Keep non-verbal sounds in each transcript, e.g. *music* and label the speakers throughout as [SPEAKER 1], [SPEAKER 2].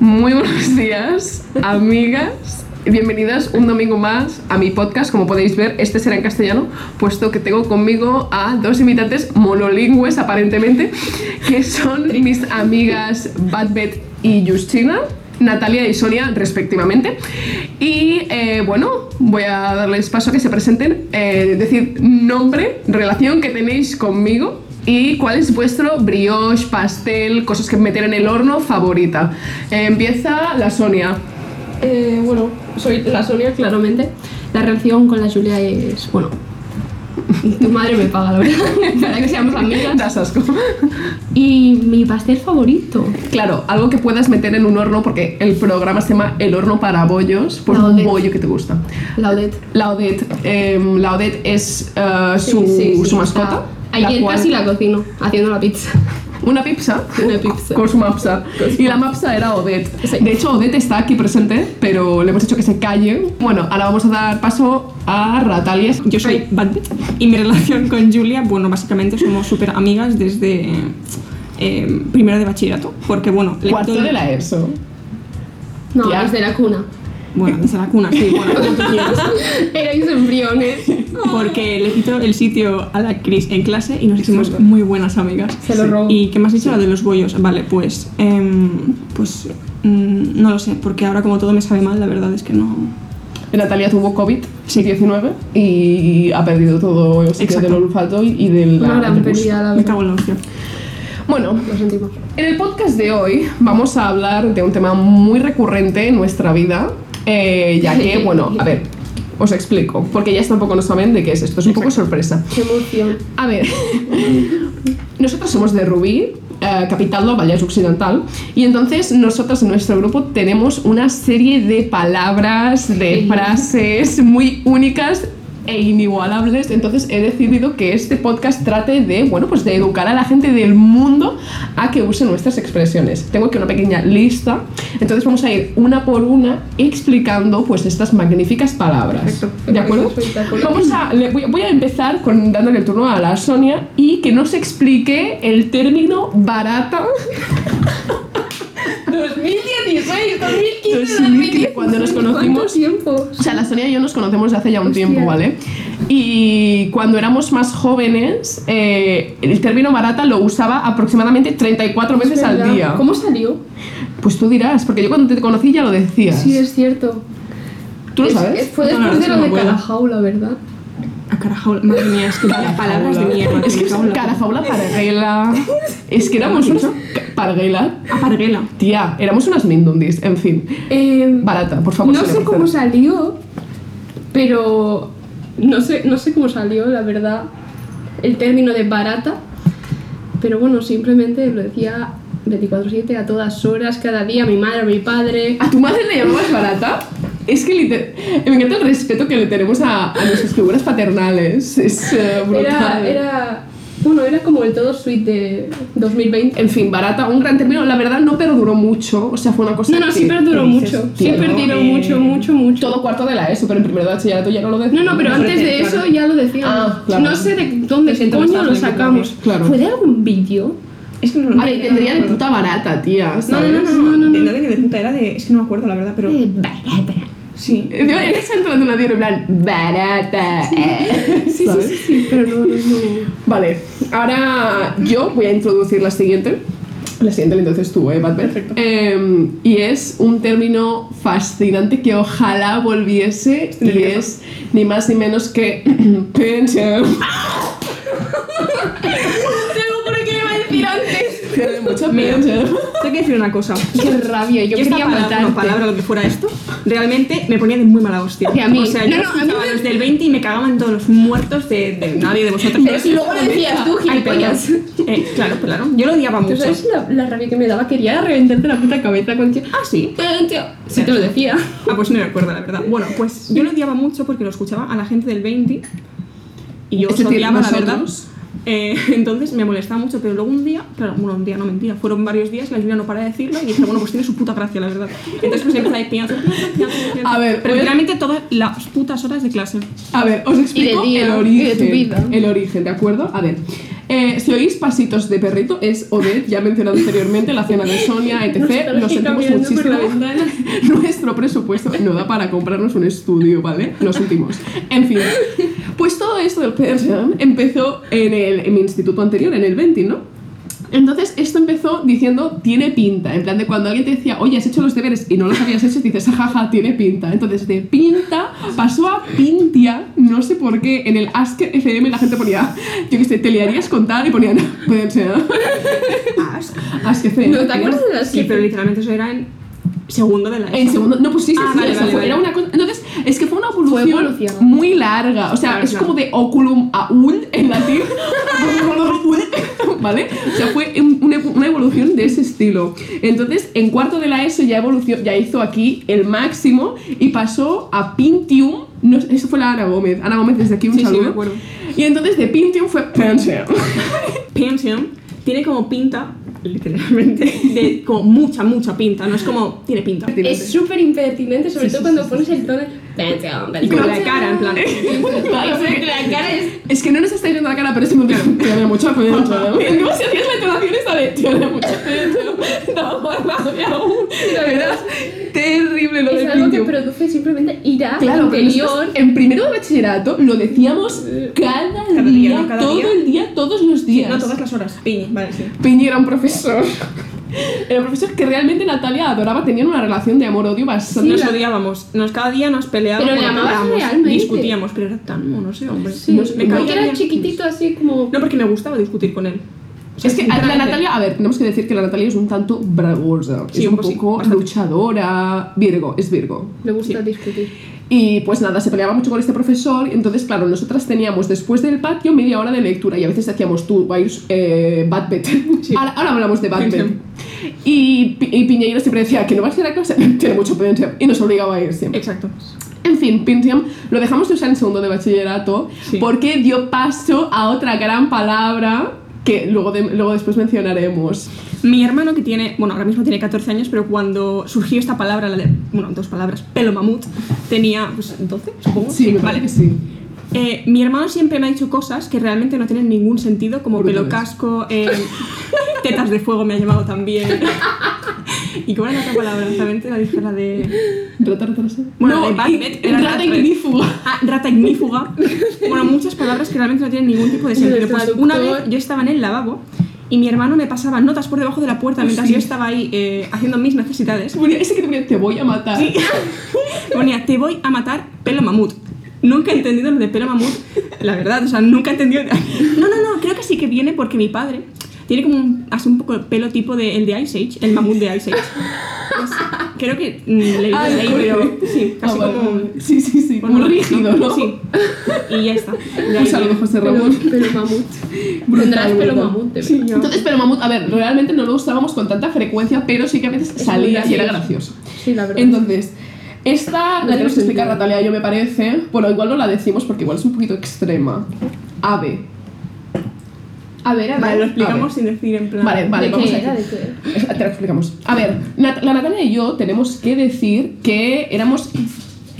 [SPEAKER 1] Muy buenos días, amigas. Bienvenidas un domingo más a mi podcast. Como podéis ver, este será en castellano, puesto que tengo conmigo a dos invitantes monolingües, aparentemente, que son mis amigas Badbet y Justina. Natalia y Sonia, respectivamente. Y eh, bueno, voy a darles paso a que se presenten. Eh, decir nombre, relación que tenéis conmigo y cuál es vuestro brioche, pastel, cosas que meter en el horno favorita. Eh, empieza la Sonia.
[SPEAKER 2] Eh, bueno, soy la Sonia, claramente. La relación con la Julia es, bueno, tu madre me paga, la verdad, *laughs* para que seamos
[SPEAKER 1] *laughs*
[SPEAKER 2] amigas.
[SPEAKER 1] Das asco.
[SPEAKER 2] Y mi pastel favorito.
[SPEAKER 1] Claro, algo que puedas meter en un horno, porque el programa se llama El horno para bollos, por
[SPEAKER 2] La
[SPEAKER 1] un
[SPEAKER 2] Odette.
[SPEAKER 1] bollo que te gusta.
[SPEAKER 2] La Odette.
[SPEAKER 1] La Odette, em, la Odette es eh,
[SPEAKER 2] Sí,
[SPEAKER 1] su,
[SPEAKER 2] sí, sí,
[SPEAKER 1] su mascota.
[SPEAKER 2] la- Ayer
[SPEAKER 1] cual-
[SPEAKER 2] casi la cocino, haciendo la pizza. *laughs*
[SPEAKER 1] Una pizza.
[SPEAKER 2] Una pizza.
[SPEAKER 1] Con su mapsa. Y la mapsa era Odette.
[SPEAKER 2] Sí.
[SPEAKER 1] De hecho, Odette está aquí presente, pero le hemos hecho que se calle. Bueno, ahora vamos a dar paso a Ratalia.
[SPEAKER 3] Yo soy Bad Bitch y mi relación con Julia, bueno, básicamente somos súper amigas desde eh, primero de bachillerato, porque bueno, le
[SPEAKER 1] Cuarto
[SPEAKER 3] doy-
[SPEAKER 1] de la ESO.
[SPEAKER 2] No,
[SPEAKER 1] Ya.
[SPEAKER 2] desde la cuna.
[SPEAKER 3] Bueno, desde la cuna, sí, bueno, como tú quieras. *laughs*
[SPEAKER 2] Erais embriones.
[SPEAKER 3] Porque le quito el sitio a la Cris en clase y nos hicimos muy buenas amigas.
[SPEAKER 2] Se lo robo.
[SPEAKER 3] ¿Y qué me has dicho? La de los bollos. Vale, pues. em, pues. mm, no lo sé, porque ahora como todo me sabe mal, la verdad es que no.
[SPEAKER 1] Natalia tuvo COVID-19
[SPEAKER 3] Sí.
[SPEAKER 1] y ha perdido todo el sitio
[SPEAKER 3] Exacto.
[SPEAKER 1] del olfato y, y del.
[SPEAKER 2] Una gran
[SPEAKER 1] del gusto.
[SPEAKER 2] pérdida, la
[SPEAKER 3] Me
[SPEAKER 2] verdad.
[SPEAKER 3] cago en la hostia.
[SPEAKER 1] Bueno,
[SPEAKER 2] Lo sentimos.
[SPEAKER 1] En el podcast de hoy vamos a hablar de un tema muy recurrente en nuestra vida, eh, ya que,
[SPEAKER 2] *laughs*
[SPEAKER 1] bueno, a ver, os explico, porque ellas tampoco nos saben de qué es esto, es un poco sorpresa.
[SPEAKER 2] Qué emoción.
[SPEAKER 1] A ver, *laughs* nosotros somos de Rubí, eh, capital del Vallès Occidental, y entonces nosotros en nuestro grupo tenemos una serie de palabras, de
[SPEAKER 2] Sí.
[SPEAKER 1] frases muy únicas e inigualables, entonces he decidido que este podcast trate de, bueno, pues de educar a la gente del mundo a que use nuestras expresiones. Tengo aquí una pequeña lista, entonces vamos a ir una por una explicando pues estas magníficas palabras.
[SPEAKER 3] Perfecto.
[SPEAKER 1] ¿De acuerdo?
[SPEAKER 2] Espectacular.
[SPEAKER 1] Vamos a, le- voy, voy a empezar con dándole el turno a la Sonia y que nos explique el término barata.
[SPEAKER 2] 2016, 2015,
[SPEAKER 1] 2015, cuando nos conocimos.
[SPEAKER 2] ¿Cuánto tiempo?
[SPEAKER 1] O sea, la Sonia y yo nos conocemos de hace ya un
[SPEAKER 2] Hostia.
[SPEAKER 1] tiempo, ¿vale? Y cuando éramos más jóvenes, eh, el término barata lo usaba aproximadamente 34 veces
[SPEAKER 2] Es
[SPEAKER 1] al
[SPEAKER 2] verdad.
[SPEAKER 1] día.
[SPEAKER 2] ¿Cómo salió?
[SPEAKER 1] Pues tú dirás, porque yo cuando te conocí ya lo decías.
[SPEAKER 2] Sí, es cierto.
[SPEAKER 1] ¿Tú lo
[SPEAKER 2] Es-
[SPEAKER 1] sabes?
[SPEAKER 2] es- fue
[SPEAKER 3] No, la
[SPEAKER 2] después de
[SPEAKER 3] verdad es
[SPEAKER 2] lo
[SPEAKER 3] que
[SPEAKER 2] de
[SPEAKER 3] no me acuerdo.
[SPEAKER 2] Carajau, la verdad.
[SPEAKER 3] A carajaula. Ah, Madre mía, *laughs* es que palabras de mierda.
[SPEAKER 1] Es que es
[SPEAKER 3] carajaula.
[SPEAKER 1] carajaula parguela.
[SPEAKER 2] *laughs*
[SPEAKER 1] Es que éramos unos parguela.
[SPEAKER 3] A parguela.
[SPEAKER 1] Tía, éramos unas mindundis, en fin.
[SPEAKER 2] Eh,
[SPEAKER 1] Barata, por favor.
[SPEAKER 2] no
[SPEAKER 1] Sonia
[SPEAKER 2] sé
[SPEAKER 1] Barcelo.
[SPEAKER 2] cómo salió, pero no sé, no sé cómo salió, la verdad, el término de barata. Pero bueno, simplemente lo decía 24-7 a todas horas, cada día, mi madre, mi padre.
[SPEAKER 1] ¿A tu madre le llamabas barata? Es que liter- me encanta el respeto que le tenemos a, a nuestras figuras paternales. Es eh, brutal.
[SPEAKER 2] Era, era, bueno, era como el todo suite de 2020.
[SPEAKER 1] En fin, barata, un gran término. La verdad no perduró mucho. O sea, fue una cosa.
[SPEAKER 2] No, no, sí
[SPEAKER 1] que-
[SPEAKER 2] perduró
[SPEAKER 1] que dices,
[SPEAKER 2] mucho, sí
[SPEAKER 1] "Tío,
[SPEAKER 2] perduró
[SPEAKER 1] eh,
[SPEAKER 2] mucho, mucho, mucho.
[SPEAKER 1] Todo cuarto
[SPEAKER 2] E
[SPEAKER 1] de la ESO, pero en primero de bachillerato ya no lo decía.
[SPEAKER 2] No, no, pero antes de
[SPEAKER 3] claro.
[SPEAKER 2] eso ya lo decían.
[SPEAKER 1] Ah, claro.
[SPEAKER 2] No sé de
[SPEAKER 3] Te
[SPEAKER 2] dónde
[SPEAKER 3] siento que
[SPEAKER 2] coño
[SPEAKER 3] estás
[SPEAKER 2] lo
[SPEAKER 3] leyendo,
[SPEAKER 2] sacamos.
[SPEAKER 1] claro.
[SPEAKER 2] ¿Fue de algún vídeo?
[SPEAKER 3] Es que no lo
[SPEAKER 1] Vale, tendría de puta barata, tía.
[SPEAKER 2] No,
[SPEAKER 1] ¿sabes?
[SPEAKER 2] no, no, no, no, no,
[SPEAKER 3] De
[SPEAKER 2] no.
[SPEAKER 3] nada que de puta era de. Es que no me acuerdo, la verdad, pero.
[SPEAKER 2] Eh, barata.
[SPEAKER 3] Sí.
[SPEAKER 1] Yo era entrando una tía en plan, barata. eh",
[SPEAKER 2] Sí, sí,
[SPEAKER 1] ¿sabes?
[SPEAKER 2] sí, sí, pero no, no, *laughs* no.
[SPEAKER 1] Vale, ahora yo voy a introducir la siguiente. La siguiente la entonces tú, ¿eh, Batman?
[SPEAKER 3] Perfecto.
[SPEAKER 1] Eh, y es un término fascinante que ojalá volviese
[SPEAKER 3] Estoy
[SPEAKER 1] y
[SPEAKER 3] nerviosa.
[SPEAKER 1] es ni más ni menos que *coughs* pension.
[SPEAKER 2] Tengo por qué iba a decir antes.
[SPEAKER 1] Tiene mucha
[SPEAKER 3] Mira.
[SPEAKER 1] pension.
[SPEAKER 3] Tengo que decir una cosa.
[SPEAKER 2] Qué rabia, yo,
[SPEAKER 3] Yo esta
[SPEAKER 2] quería
[SPEAKER 3] palabra,
[SPEAKER 2] matarte.
[SPEAKER 3] no, palabra, lo que fuera esto, realmente me ponía de muy mala hostia.
[SPEAKER 2] Y a mí.
[SPEAKER 3] O sea,
[SPEAKER 2] No,
[SPEAKER 3] yo
[SPEAKER 2] no, a mí
[SPEAKER 3] escuchaba
[SPEAKER 2] me-
[SPEAKER 3] los del 20 y me cagaban todos los muertos de, de nadie de vosotros.
[SPEAKER 2] *laughs* Y luego lo decías tú,
[SPEAKER 3] Ay, perdón.
[SPEAKER 2] gilipollas.
[SPEAKER 3] Eh, claro, claro. Yo lo odiaba
[SPEAKER 2] ¿Tú
[SPEAKER 3] mucho.
[SPEAKER 2] sabes la, la rabia que me daba? Quería reventarte la puta cabeza con tío.
[SPEAKER 3] Ah, sí.
[SPEAKER 2] Sí, te lo decía.
[SPEAKER 3] Ah, pues no me acuerdo, la verdad. Bueno, pues yo lo odiaba mucho porque lo escuchaba a la gente del 20 y yo
[SPEAKER 1] Es
[SPEAKER 3] os
[SPEAKER 1] decir,
[SPEAKER 3] odiaba, la verdad.
[SPEAKER 1] nosotros.
[SPEAKER 3] Eh, *laughs* entonces me molestaba mucho, pero luego un día, claro, bueno, un día, no mentira, fueron varios días, la Julia no para de decirlo y dije, bueno, pues tiene su puta gracia, la verdad. Entonces pues empecé a decir, "Piñazo, piñazo, piñazo, piñazo".
[SPEAKER 1] A ver,
[SPEAKER 3] pero
[SPEAKER 1] voy a-
[SPEAKER 3] literalmente todas las putas horas de clase.
[SPEAKER 1] A ver, os explico
[SPEAKER 2] día,
[SPEAKER 1] el origen.
[SPEAKER 2] y de tu vida.
[SPEAKER 1] El origen, ¿de acuerdo? A ver, Eh, si oís pasitos de perrito, es Odette, ya mencionado anteriormente, la cena de
[SPEAKER 2] *laughs*
[SPEAKER 1] Sonia, etc.
[SPEAKER 2] Nostalgia
[SPEAKER 1] Nos sentimos
[SPEAKER 2] mirando por la
[SPEAKER 1] muchísimo.
[SPEAKER 2] *laughs* ventana.
[SPEAKER 1] *laughs* Nuestro presupuesto no da para comprarnos un estudio, ¿vale? Lo sentimos. En fin, pues todo esto del Persian empezó en, el, en mi instituto anterior, en el 20, ¿no? Entonces, esto empezó diciendo, tiene pinta. En plan de cuando alguien te decía, oye, has hecho los deberes y no los habías hecho, dices, jaja, tiene pinta. Entonces, de pinta pasó a pintia, no sé por qué. En el Ask FM la gente ponía, yo qué sé, te liarías con tal y ponían, *laughs* puede ser.
[SPEAKER 3] Ask.
[SPEAKER 1] Ask FM.
[SPEAKER 2] ¿No te
[SPEAKER 1] tío.
[SPEAKER 2] acuerdas de las
[SPEAKER 3] Sí, pero literalmente eso era en segundo de la
[SPEAKER 1] En
[SPEAKER 3] ESO.
[SPEAKER 1] segundo, no, pues sí, sí,
[SPEAKER 3] Ah,
[SPEAKER 1] sí,
[SPEAKER 3] vale,
[SPEAKER 1] o sea,
[SPEAKER 3] vale,
[SPEAKER 1] fue-
[SPEAKER 3] vale.
[SPEAKER 1] era una cosa. Entonces, es que fue una evolución,
[SPEAKER 2] evolución.
[SPEAKER 1] muy larga. O sea,
[SPEAKER 3] Claro,
[SPEAKER 1] es
[SPEAKER 3] claro.
[SPEAKER 1] como de oculum a ul en latín. *laughs* ¿Vale? O sea, fue un- una una evolución de ese estilo. Entonces, en cuarto de la ESO ya, evolución, ya hizo aquí el máximo y pasó a Pintium. No, eso fue la Ana Gómez. Ana Gómez, desde aquí un
[SPEAKER 3] Sí, sí,
[SPEAKER 1] saludo.
[SPEAKER 3] me acuerdo.
[SPEAKER 1] Y entonces de Pintium fue Pantheon.
[SPEAKER 3] Pension tiene como pinta, literalmente, de como mucha, mucha pinta. No es como, tiene pinta.
[SPEAKER 2] Es súper impertinente, sobre
[SPEAKER 1] Sí,
[SPEAKER 2] todo
[SPEAKER 1] sí,
[SPEAKER 2] cuando
[SPEAKER 1] sí,
[SPEAKER 2] pones el tono. Pensión,
[SPEAKER 3] Y con
[SPEAKER 2] pensión.
[SPEAKER 3] la cara, en
[SPEAKER 1] *laughs*
[SPEAKER 3] plan.
[SPEAKER 1] Vale, fue-
[SPEAKER 2] *laughs* La cara es. *laughs*
[SPEAKER 1] Es que no nos estáis viendo la cara, pero es *laughs* un Tiene mucha fe. ¿no? *laughs* Como si hacías la entonación esta de tiene mucha fe. *laughs* No, rabia aún. La verdad, terrible lo
[SPEAKER 2] Es
[SPEAKER 1] de
[SPEAKER 2] algo que
[SPEAKER 1] Pintium.
[SPEAKER 2] produce simplemente ira
[SPEAKER 1] Claro, pero
[SPEAKER 2] interior.
[SPEAKER 1] nosotros en primero de bachillerato lo decíamos cada,
[SPEAKER 3] Cada día,
[SPEAKER 1] día,
[SPEAKER 3] ¿no? Cada
[SPEAKER 1] todo
[SPEAKER 3] día.
[SPEAKER 1] el día, todos los días.
[SPEAKER 3] No todas las horas. Piñi, vale, sí.
[SPEAKER 1] Piñi era un profesor. *laughs* Era un profesor que realmente Natalia adoraba, tenían una relación de amor-odio bastante.
[SPEAKER 3] nos
[SPEAKER 2] la-
[SPEAKER 3] odiábamos, nos cada día nos peleábamos,
[SPEAKER 2] Pero le
[SPEAKER 3] nos
[SPEAKER 2] amabas
[SPEAKER 3] peleábamos,
[SPEAKER 2] realmente.
[SPEAKER 3] discutíamos, pero era tan mono ese hombre.
[SPEAKER 2] Sí,
[SPEAKER 3] Nos- me caía
[SPEAKER 2] porque era
[SPEAKER 3] bien.
[SPEAKER 2] chiquitito
[SPEAKER 1] pues.
[SPEAKER 2] así como.
[SPEAKER 3] No, porque me gustaba discutir con él. O sea,
[SPEAKER 1] Es que a- la
[SPEAKER 3] sinceramente,
[SPEAKER 1] Natalia, a ver, tenemos que decir que la Natalia es un tanto bravosa,
[SPEAKER 3] Sí,
[SPEAKER 1] es un
[SPEAKER 3] un poco sí,
[SPEAKER 1] poco
[SPEAKER 3] bastante.
[SPEAKER 1] luchadora, Virgo, es Virgo.
[SPEAKER 2] Le gusta
[SPEAKER 3] Sí.
[SPEAKER 2] discutir.
[SPEAKER 1] Y pues nada, se peleaba mucho con este profesor, entonces claro, nosotras teníamos después del patio media hora de lectura y a veces hacíamos tú, vais, eh, Badbet.
[SPEAKER 3] *laughs* Sí.
[SPEAKER 1] Ahora, ahora hablamos de Badbet.
[SPEAKER 3] Sí.
[SPEAKER 1] Y, Pi- y Piñeiro siempre decía que no vas a ir a clase, *laughs* tiene mucho potencia y nos obligaba a ir siempre.
[SPEAKER 3] Exacto.
[SPEAKER 1] En fin, Pintium lo dejamos de usar en segundo de bachillerato
[SPEAKER 3] Sí.
[SPEAKER 1] porque dio paso a otra gran palabra que luego, de- luego después mencionaremos.
[SPEAKER 3] Mi hermano que tiene, bueno, ahora mismo tiene 14 años, pero cuando surgió esta palabra, la de, bueno, dos palabras, pelo mamut, tenía, pues, 12, supongo.
[SPEAKER 1] Sí, me parece
[SPEAKER 3] vale.
[SPEAKER 1] que sí.
[SPEAKER 3] Eh, mi hermano siempre me ha dicho cosas que realmente no tienen ningún sentido, como
[SPEAKER 1] Brutales.
[SPEAKER 3] pelo casco, eh, tetas de fuego me ha llamado también. *laughs* ¿Y cuál era la otra palabra? También te la dije la de...
[SPEAKER 1] ¿Rata, rata, rata?
[SPEAKER 3] Bueno,
[SPEAKER 1] no,
[SPEAKER 3] de Batman,
[SPEAKER 1] y-
[SPEAKER 3] era
[SPEAKER 1] rata
[SPEAKER 3] rata.
[SPEAKER 1] ignífuga.
[SPEAKER 3] Ah, rata ignífuga. Bueno, muchas palabras que realmente no tienen ningún tipo de
[SPEAKER 2] Y el
[SPEAKER 3] sentido. Pues una
[SPEAKER 2] traductor.
[SPEAKER 3] vez yo estaba en el lavabo y mi hermano me pasaba notas por debajo de la puerta mientras yo estaba ahí eh, haciendo mis necesidades.
[SPEAKER 1] Ponía- *laughs* Ese que te ponía, te voy a matar.
[SPEAKER 3] Sí. Ponía, te voy a matar pelo mamut. Nunca he entendido lo de pelo mamut, la verdad, o sea, nunca he entendido. No, no, no, creo que sí que viene porque mi padre tiene como un, así un poco el pelo tipo de, el de Ice Age, el mamut de Ice Age. Pues, creo que mm, le viene
[SPEAKER 1] Ah,
[SPEAKER 3] de ahí,
[SPEAKER 1] coño.
[SPEAKER 3] pero sí,
[SPEAKER 1] Ah,
[SPEAKER 3] casi
[SPEAKER 1] vale,
[SPEAKER 3] como.
[SPEAKER 1] vale. Sí, sí, sí.
[SPEAKER 3] bueno,
[SPEAKER 1] muy rígido, ¿no?
[SPEAKER 3] Sí. Y ya está. De
[SPEAKER 1] Un
[SPEAKER 3] ahí
[SPEAKER 1] saludo,
[SPEAKER 3] viene.
[SPEAKER 1] José
[SPEAKER 2] Pero,
[SPEAKER 1] Ramón.
[SPEAKER 2] pero
[SPEAKER 1] *laughs*
[SPEAKER 2] mamut.
[SPEAKER 1] Brutal,
[SPEAKER 2] Tendrás pelo
[SPEAKER 1] brutal.
[SPEAKER 2] mamut, de verdad.
[SPEAKER 3] Sí, yo.
[SPEAKER 1] Entonces, pero mamut, a ver, realmente no lo usábamos con tanta frecuencia, pero sí que a veces
[SPEAKER 2] Es muy
[SPEAKER 1] salía y era
[SPEAKER 2] gracioso.
[SPEAKER 1] gracioso.
[SPEAKER 2] Sí, la verdad.
[SPEAKER 1] Entonces, esta
[SPEAKER 2] No
[SPEAKER 1] la
[SPEAKER 2] tiene
[SPEAKER 1] tenemos que explicar,
[SPEAKER 2] sentido.
[SPEAKER 1] Natalia, yo me parece. Bueno, igual no la decimos porque igual es un poquito extrema. Ave.
[SPEAKER 2] a ver, a ver.
[SPEAKER 3] Vale, lo
[SPEAKER 1] A ver.
[SPEAKER 3] explicamos sin decir en plan.
[SPEAKER 1] Vale, vale,
[SPEAKER 2] ¿De
[SPEAKER 1] vamos
[SPEAKER 2] qué
[SPEAKER 1] a
[SPEAKER 2] era?
[SPEAKER 1] decir.
[SPEAKER 2] ¿De qué era?
[SPEAKER 1] *laughs* Es- Te lo explicamos. A ver, Nat- la Natalia y yo tenemos que decir que éramos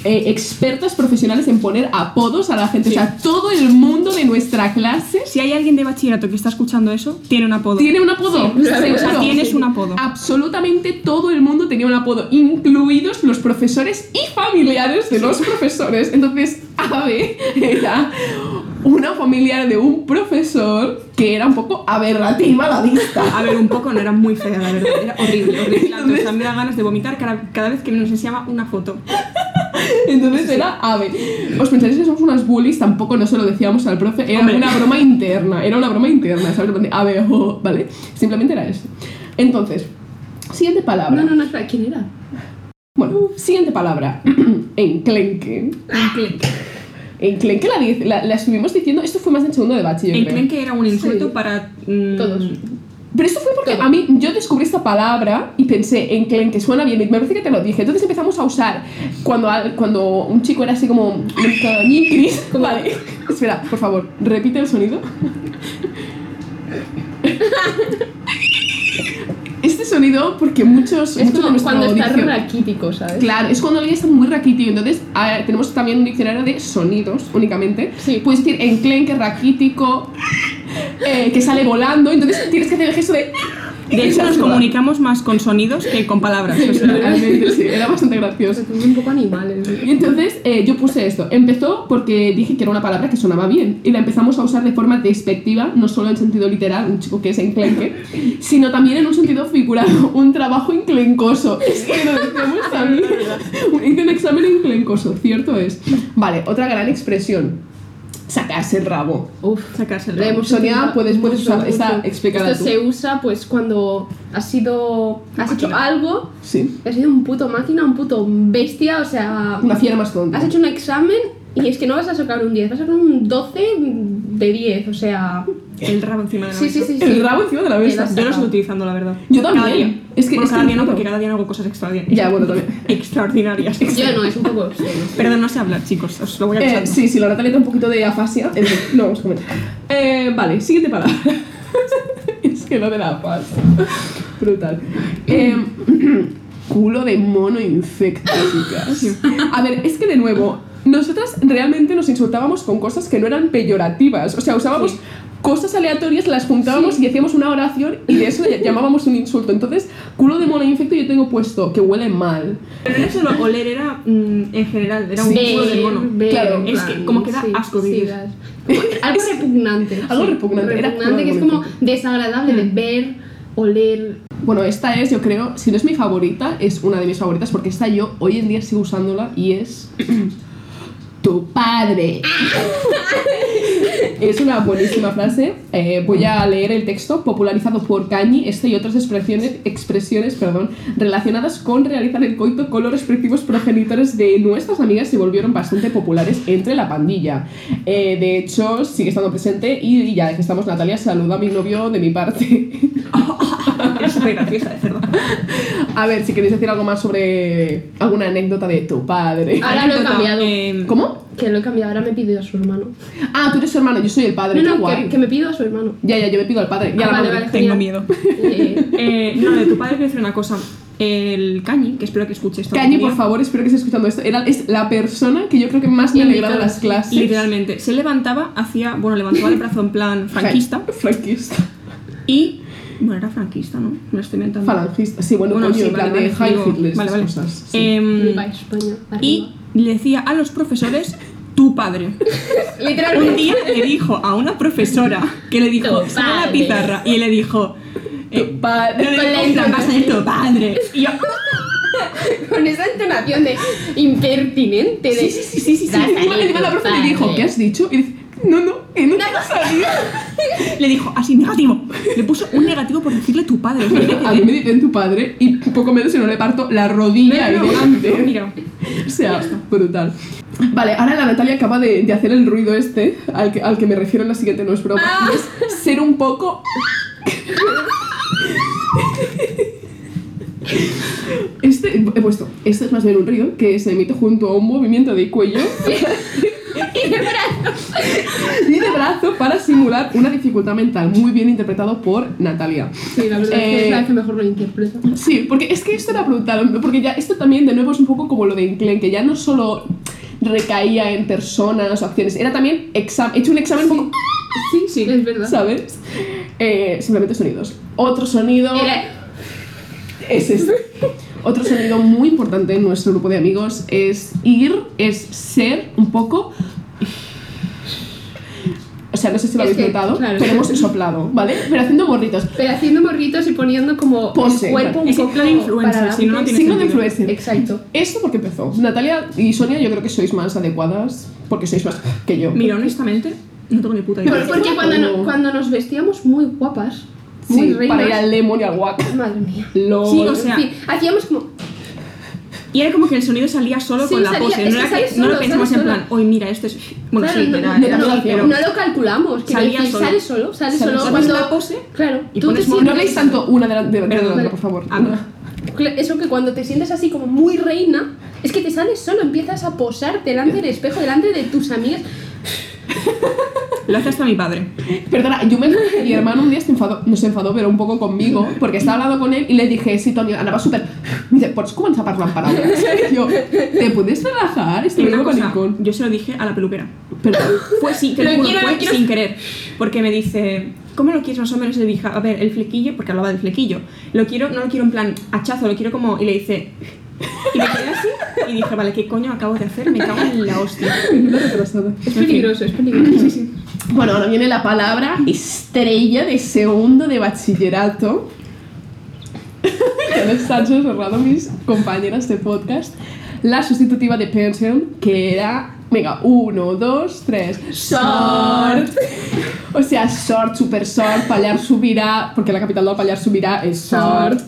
[SPEAKER 1] eh, expertas profesionales en poner apodos a la gente.
[SPEAKER 3] Sí.
[SPEAKER 1] O sea, todo el mundo de nuestra clase
[SPEAKER 3] Si hay alguien de bachillerato que está escuchando eso, tiene un apodo.
[SPEAKER 1] tiene un apodo. Ah,
[SPEAKER 2] Sí, claro,
[SPEAKER 1] seguro.
[SPEAKER 3] o sea, tienes un apodo.
[SPEAKER 1] Absolutamente todo el mundo tenía un apodo, incluidos los profesores y familiares de los profesores. Entonces, Ave era una familiar de un profesor que era un poco aberrativa a la vista.
[SPEAKER 3] A ver, un poco no era muy fea, la verdad. Era horrible, horrible. O sea, me da ganas de vomitar cada, cada vez que nos enseñaba una foto.
[SPEAKER 1] Entonces era ave. ¿Os pensáis que somos unas bullies? Tampoco no se lo decíamos al profe. Era
[SPEAKER 3] Hombre.
[SPEAKER 1] una broma interna. Era una broma interna, ¿sabes? En plan de *laughs* Ave, ojo, ¿vale? Simplemente era eso. Entonces, siguiente palabra.
[SPEAKER 2] No, no, no, espera, ¿quién era?
[SPEAKER 1] Bueno, siguiente palabra. *clears throat* enclenque. Enclenque la, dice- la, la estuvimos diciendo. Esto fue más en segundo de bachi, yo
[SPEAKER 3] En
[SPEAKER 1] creo.
[SPEAKER 3] plan que era un insulto
[SPEAKER 2] Sí.
[SPEAKER 3] para. mm,
[SPEAKER 2] Todos.
[SPEAKER 1] Pero esto fue porque
[SPEAKER 2] Todo.
[SPEAKER 1] a mí yo descubrí esta palabra y pensé en que, en que suena bien y me parece que te lo dije. Entonces empezamos a usar cuando, al- cuando un chico era así como...
[SPEAKER 2] *laughs*
[SPEAKER 1] "Ñicris".
[SPEAKER 2] Como-
[SPEAKER 1] Vale. Espera, por favor, repite el
[SPEAKER 2] *laughs*
[SPEAKER 1] sonido. Este sonido, porque muchos...
[SPEAKER 2] Es
[SPEAKER 1] muchos de
[SPEAKER 2] como
[SPEAKER 1] nuestra
[SPEAKER 2] cuando estás
[SPEAKER 1] audición-
[SPEAKER 2] raquítico, ¿sabes?
[SPEAKER 1] Claro, es cuando alguien está muy raquítico. Entonces, a ver, tenemos también un diccionario de sonidos únicamente.
[SPEAKER 2] Sí.
[SPEAKER 1] Puedes decir enclenque, raquítico, eh, que sale volando, entonces tienes que hacer el gesto de...
[SPEAKER 3] De hecho, nos comunicamos más con sonidos que con palabras. o
[SPEAKER 1] *laughs*
[SPEAKER 3] sea.
[SPEAKER 1] Realmente, sí, era bastante
[SPEAKER 2] O
[SPEAKER 1] gracioso.
[SPEAKER 2] sea, somos un poco animales.
[SPEAKER 1] Y entonces eh, yo puse esto. Empezó porque dije que era una palabra que sonaba bien y la empezamos a usar de forma despectiva, no solo en sentido literal, un chico que es enclenque, sino también en un sentido figurado, un trabajo enclencoso. Es que lo decíamos también. *laughs* Un- Hice un examen enclencoso, cierto es. Vale, otra gran expresión. Sacarse el rabo.
[SPEAKER 2] Uf,
[SPEAKER 3] Sacarse el
[SPEAKER 2] la
[SPEAKER 3] rabo.
[SPEAKER 2] hemos
[SPEAKER 1] Sonia,
[SPEAKER 2] utilizado
[SPEAKER 1] puedes- puedes
[SPEAKER 2] mucho,
[SPEAKER 1] usar- está
[SPEAKER 2] mucho.
[SPEAKER 1] explicada
[SPEAKER 2] Esto
[SPEAKER 1] tú.
[SPEAKER 2] se usa pues cuando has sido. Has hecho algo,
[SPEAKER 1] Sí.
[SPEAKER 2] has sido un puto máquina, un puto bestia, o sea.
[SPEAKER 1] Una fiera más tonta.
[SPEAKER 2] Has hecho un examen y es que no vas a sacar un 10, vas a sacar un 12 de 10, o sea.
[SPEAKER 3] El rabo encima de la
[SPEAKER 2] Sí,
[SPEAKER 3] mesa.
[SPEAKER 2] sí, sí. sí.
[SPEAKER 1] El rabo encima de la mesa.
[SPEAKER 2] Quedas-
[SPEAKER 3] Yo lo estoy utilizando, la verdad.
[SPEAKER 1] Yo también.
[SPEAKER 3] Cada día.
[SPEAKER 1] Es que-
[SPEAKER 3] Bueno,
[SPEAKER 1] es
[SPEAKER 3] cada
[SPEAKER 1] que
[SPEAKER 3] día no,
[SPEAKER 1] juro.
[SPEAKER 3] porque cada día hago cosas extraordinarias.
[SPEAKER 1] Ya, bueno, también.
[SPEAKER 3] Extraordinarias.
[SPEAKER 2] Yo no, es un poco obsceno.
[SPEAKER 3] Perdón, no sé hablar, chicos. Os lo voy a
[SPEAKER 1] Eh,
[SPEAKER 3] avisando.
[SPEAKER 1] sí, sí, la Natalia tiene un poquito de afasia. entonces, no vamos a comentar. Eh, vale, siguiente palabra. *laughs* es que lo de la afasia. Brutal. Eh, *clears throat* culo de mono infecto, chicas. A ver, es que de nuevo, nosotras realmente nos insultábamos con cosas que no eran peyorativas. O sea, usábamos. Cosas aleatorias las juntábamos y hacíamos una oración y de eso ya- llamábamos un insulto. Entonces, culo de mono infecto yo tengo puesto que huele mal.
[SPEAKER 3] Pero no era solo oler, era mm, en general, era un
[SPEAKER 2] Ver,
[SPEAKER 3] culo de mono.
[SPEAKER 2] ver,
[SPEAKER 1] Claro,
[SPEAKER 2] en
[SPEAKER 3] es
[SPEAKER 2] plan,
[SPEAKER 3] que como que da asco vivir.
[SPEAKER 2] das. Como
[SPEAKER 1] *laughs*
[SPEAKER 2] algo repugnante.
[SPEAKER 1] Algo
[SPEAKER 2] sí.
[SPEAKER 1] repugnante, era
[SPEAKER 2] Repugnante, que es
[SPEAKER 1] puramente.
[SPEAKER 2] como desagradable de
[SPEAKER 1] Mm.
[SPEAKER 2] ver, oler.
[SPEAKER 1] Bueno, esta es, yo creo, si no es mi favorita, es una de mis favoritas porque esta yo hoy en día sigo usándola y es *clears throat* tu padre. *laughs* es una buenísima frase. Eh, voy a leer el texto popularizado por Kanye, este y otras expresiones, expresiones perdón, relacionadas con realizar el coito con los respectivos progenitores de nuestras amigas se volvieron bastante populares entre la pandilla. Eh, de hecho, sigue estando presente y, y ya que estamos, Natalia, saluda a mi novio de mi parte.
[SPEAKER 3] Era súper graciosa, de verdad.
[SPEAKER 1] A ver, si queréis decir algo más sobre alguna anécdota de tu padre.
[SPEAKER 2] Ahora lo he
[SPEAKER 3] Anécdota,
[SPEAKER 2] cambiado.
[SPEAKER 3] eh,
[SPEAKER 1] ¿Cómo?
[SPEAKER 2] Que lo he cambiado, ahora me pido a su hermano.
[SPEAKER 1] Ah, tú eres su hermano, yo soy el padre.
[SPEAKER 2] No,
[SPEAKER 1] qué
[SPEAKER 2] no,
[SPEAKER 1] guay.
[SPEAKER 2] que, que me pido a su hermano.
[SPEAKER 1] Ya, ya, yo me pido al padre. Y a
[SPEAKER 2] Ah,
[SPEAKER 1] la
[SPEAKER 2] vale,
[SPEAKER 1] madre.
[SPEAKER 2] vale.
[SPEAKER 3] Tengo
[SPEAKER 2] Genial.
[SPEAKER 3] miedo.
[SPEAKER 1] *laughs*
[SPEAKER 2] Eh,
[SPEAKER 3] Eh, no, de tu padre quiero decir una cosa. El Cañi, que espero que escuche esto.
[SPEAKER 1] Cañi, por
[SPEAKER 3] mío,
[SPEAKER 1] favor, espero que estés escuchando esto. Era, es la persona que yo creo que más me ha alegrado
[SPEAKER 2] Invitado,
[SPEAKER 1] las
[SPEAKER 2] sí.
[SPEAKER 1] clases.
[SPEAKER 3] Literalmente, se levantaba, hacía, bueno, levantaba el brazo en
[SPEAKER 1] *laughs*
[SPEAKER 3] plan
[SPEAKER 1] Fra-
[SPEAKER 3] franquista
[SPEAKER 1] Franquista.
[SPEAKER 3] y, bueno, era franquista, ¿no? Me lo estoy inventando.
[SPEAKER 1] Falangista. Sí, bueno,
[SPEAKER 3] Bueno,
[SPEAKER 1] coño,
[SPEAKER 3] sí,
[SPEAKER 1] en plan
[SPEAKER 3] vale,
[SPEAKER 1] de
[SPEAKER 3] vale,
[SPEAKER 1] Heil
[SPEAKER 3] digo-
[SPEAKER 1] Hitler,
[SPEAKER 3] vale,
[SPEAKER 1] esas
[SPEAKER 3] vale.
[SPEAKER 1] cosas. sí.
[SPEAKER 3] Em,
[SPEAKER 1] Mm.
[SPEAKER 2] viva España. arriba.
[SPEAKER 3] y le decía a los profesores, tu padre. Un
[SPEAKER 2] Literalmente.
[SPEAKER 1] *laughs*
[SPEAKER 3] día le dijo a una profesora que le dijo,
[SPEAKER 2] Tu
[SPEAKER 3] sal a la
[SPEAKER 2] padre".
[SPEAKER 3] pizarra y le dijo, eh,
[SPEAKER 1] Tu padre.
[SPEAKER 3] le dijo, en plan, vas a ser tu padre. Y yo,
[SPEAKER 2] Con esa entonación de impertinente.
[SPEAKER 1] Sí,
[SPEAKER 2] De, *laughs*
[SPEAKER 1] sí, sí, sí, sí. sí.
[SPEAKER 2] Vas a
[SPEAKER 1] Encima-
[SPEAKER 2] ir
[SPEAKER 1] encima la
[SPEAKER 2] tu
[SPEAKER 1] profe le dijo,
[SPEAKER 2] padre.
[SPEAKER 1] ¿qué has dicho? Y dice, no, no, que no te ha salido.
[SPEAKER 3] le dijo así, negativo. Le puso un negativo por decirle tu padre.
[SPEAKER 1] *laughs* A mí me dicen tu padre y poco menos si no le parto la rodilla ahí
[SPEAKER 3] No, no,
[SPEAKER 1] delante.
[SPEAKER 3] no, mira.
[SPEAKER 1] O sea, brutal. Vale, ahora la Natalia acaba de, de hacer el ruido este, al que, al que me refiero en la siguiente, no es broma. y es ser un poco. Este, he puesto, este es más bien un ruido que se emite junto a un movimiento de cuello
[SPEAKER 2] Y de brazos.
[SPEAKER 1] y de brazo para simular una dificultad mental, muy bien interpretado por Natalia.
[SPEAKER 2] Sí, la verdad es que es
[SPEAKER 1] Eh,
[SPEAKER 2] la que mejor lo interpreta.
[SPEAKER 1] Sí, porque es que esto era brutal, porque ya esto también de nuevo es un poco como lo de Inclen, que ya no solo recaía en personas o acciones, era también exam- hecho un examen un poco,
[SPEAKER 2] Sí, sí, es verdad.
[SPEAKER 1] ¿sabes? Eh, simplemente sonidos. Otro sonido
[SPEAKER 2] Era-
[SPEAKER 1] es este. Otro sonido muy importante en nuestro grupo de amigos es ir, es ser un poco... O sea, no sé si lo
[SPEAKER 2] Es
[SPEAKER 1] habéis
[SPEAKER 2] que,
[SPEAKER 1] notado,
[SPEAKER 2] claro.
[SPEAKER 1] pero hemos soplado, ¿ale? Pero haciendo gorritos.
[SPEAKER 2] pero haciendo morritos y poniendo como
[SPEAKER 1] Pose,
[SPEAKER 2] el cuerpo un
[SPEAKER 3] es en
[SPEAKER 2] poco
[SPEAKER 3] plan influencer,
[SPEAKER 2] para
[SPEAKER 3] si no, no
[SPEAKER 2] adelante.
[SPEAKER 3] tiene
[SPEAKER 1] Signo de
[SPEAKER 3] sentido.
[SPEAKER 1] influencer.
[SPEAKER 3] *laughs*
[SPEAKER 2] Exacto.
[SPEAKER 1] Esto porque empezó. Natalia y Sonia, yo creo que sois más adecuadas porque sois más que yo.
[SPEAKER 3] Mira, honestamente, no tengo ni puta
[SPEAKER 1] Pero
[SPEAKER 3] idea.
[SPEAKER 1] es
[SPEAKER 2] Porque
[SPEAKER 1] guapo.
[SPEAKER 2] cuando, no- cuando nos vestíamos muy guapas, muy
[SPEAKER 1] sí,
[SPEAKER 2] reinas,
[SPEAKER 1] para ir al Lemon y al Wack.
[SPEAKER 2] madre mía.
[SPEAKER 1] LOL.
[SPEAKER 3] Sí, o sea,
[SPEAKER 2] En fin, hacíamos como
[SPEAKER 3] Y era como que el sonido salía solo
[SPEAKER 2] Sí,
[SPEAKER 3] con la
[SPEAKER 2] salía-
[SPEAKER 3] pose.
[SPEAKER 2] es
[SPEAKER 3] No,
[SPEAKER 2] que
[SPEAKER 3] era que-
[SPEAKER 2] sale
[SPEAKER 3] no
[SPEAKER 2] solo,
[SPEAKER 3] lo pensamos
[SPEAKER 2] sale
[SPEAKER 3] en plan, hoy mira, esto es. Bueno,
[SPEAKER 2] claro,
[SPEAKER 3] sí,
[SPEAKER 2] no,
[SPEAKER 3] era.
[SPEAKER 2] no,
[SPEAKER 3] era
[SPEAKER 2] no,
[SPEAKER 3] así, pero-
[SPEAKER 2] no lo calculamos, quiero
[SPEAKER 3] Salía
[SPEAKER 2] decir,
[SPEAKER 3] solo.
[SPEAKER 2] sale solo, sale
[SPEAKER 1] Sale
[SPEAKER 2] solo
[SPEAKER 1] solo.
[SPEAKER 2] cuando
[SPEAKER 3] Haces la pose,
[SPEAKER 2] claro,
[SPEAKER 3] y
[SPEAKER 2] tú
[SPEAKER 3] pones
[SPEAKER 2] te
[SPEAKER 3] mono.
[SPEAKER 1] no
[SPEAKER 2] sientes-
[SPEAKER 1] habléis tanto una de la, de la- de la
[SPEAKER 3] Perdón.
[SPEAKER 1] otra, por favor.
[SPEAKER 3] Ah, no.
[SPEAKER 2] Cla- Eso que cuando te sientes así como muy reina, es que te sales solo, empiezas a posar delante del espejo, delante de tus amigas.
[SPEAKER 3] Lo hace hasta mi padre.
[SPEAKER 1] Perdona, yo me mi hermano un día se enfadó, no se enfadó, pero un poco conmigo, porque estaba hablando con él y le dije, sí, Toni, anava súper... Me dice, pots començar a parlar en paraules?
[SPEAKER 3] *laughs*
[SPEAKER 1] Y yo, ¿te puedes relajar? Este
[SPEAKER 3] Y una
[SPEAKER 1] nuevo
[SPEAKER 3] cosa,
[SPEAKER 1] maricón.
[SPEAKER 3] yo se lo dije a la peluquera. *laughs*
[SPEAKER 1] Perdón.
[SPEAKER 3] Fue sí, te
[SPEAKER 2] Lo
[SPEAKER 3] lo juro,
[SPEAKER 2] quiero, lo
[SPEAKER 3] fue
[SPEAKER 2] quiero.
[SPEAKER 3] sin querer. Porque me dice, ¿Cómo lo quieres más o menos? Y le dije, a ver, el flequillo, porque hablaba del flequillo. Lo quiero, no lo quiero en plan hachazo, lo quiero como. Y le dice. Y me quedé así. Y dije, vale, ¿qué coño acabo de hacer? Me cago en la hostia.
[SPEAKER 1] Menuda retrasada.
[SPEAKER 2] Es peligroso, es peligroso. Sí, sí.
[SPEAKER 1] Bueno, ahora viene la palabra estrella de segundo de bachillerato. *laughs* que me están susurrando mis compañeras de podcast. La sustitutiva de pension, que era. Venga, uno, dos, tres. Sort. O sea, sort, super sort, Pallar subirá, porque la capital del Pallar subirá es sort.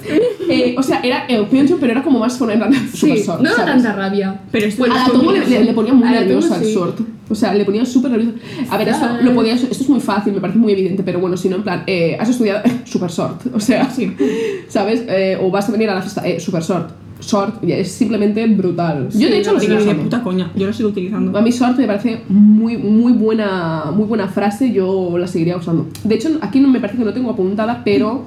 [SPEAKER 1] Eh, o sea, era el pension, pero era como más con en plan, super
[SPEAKER 2] Sí,
[SPEAKER 1] sort.
[SPEAKER 2] no da
[SPEAKER 1] ¿sabes?
[SPEAKER 2] tanta rabia.
[SPEAKER 3] Pero es
[SPEAKER 2] Bueno,
[SPEAKER 1] a la
[SPEAKER 2] es
[SPEAKER 1] Tomo le,
[SPEAKER 2] peligroso.
[SPEAKER 1] le- le ponía muy
[SPEAKER 2] Pues A la Tomo,
[SPEAKER 1] nerviosa al
[SPEAKER 2] sí.
[SPEAKER 1] short. O sea, le ponía súper nervioso. A ver, esto, lo podía, esto es muy fácil, me parece muy evidente, pero bueno, si no, en plan, eh, has estudiado *laughs* super short. O sea, ¿sabes? Eh, o vas a venir a la fiesta, eh, super short. Short, y es simplemente brutal. Yo, de hecho, lo
[SPEAKER 3] Sí,
[SPEAKER 1] sigo
[SPEAKER 3] ni de
[SPEAKER 1] usando.
[SPEAKER 3] puta coña. Yo lo sigo utilizando.
[SPEAKER 1] A mí short me parece muy, muy, buena, muy buena frase, yo la seguiría usando. De hecho, aquí no me parece que no tengo apuntada, pero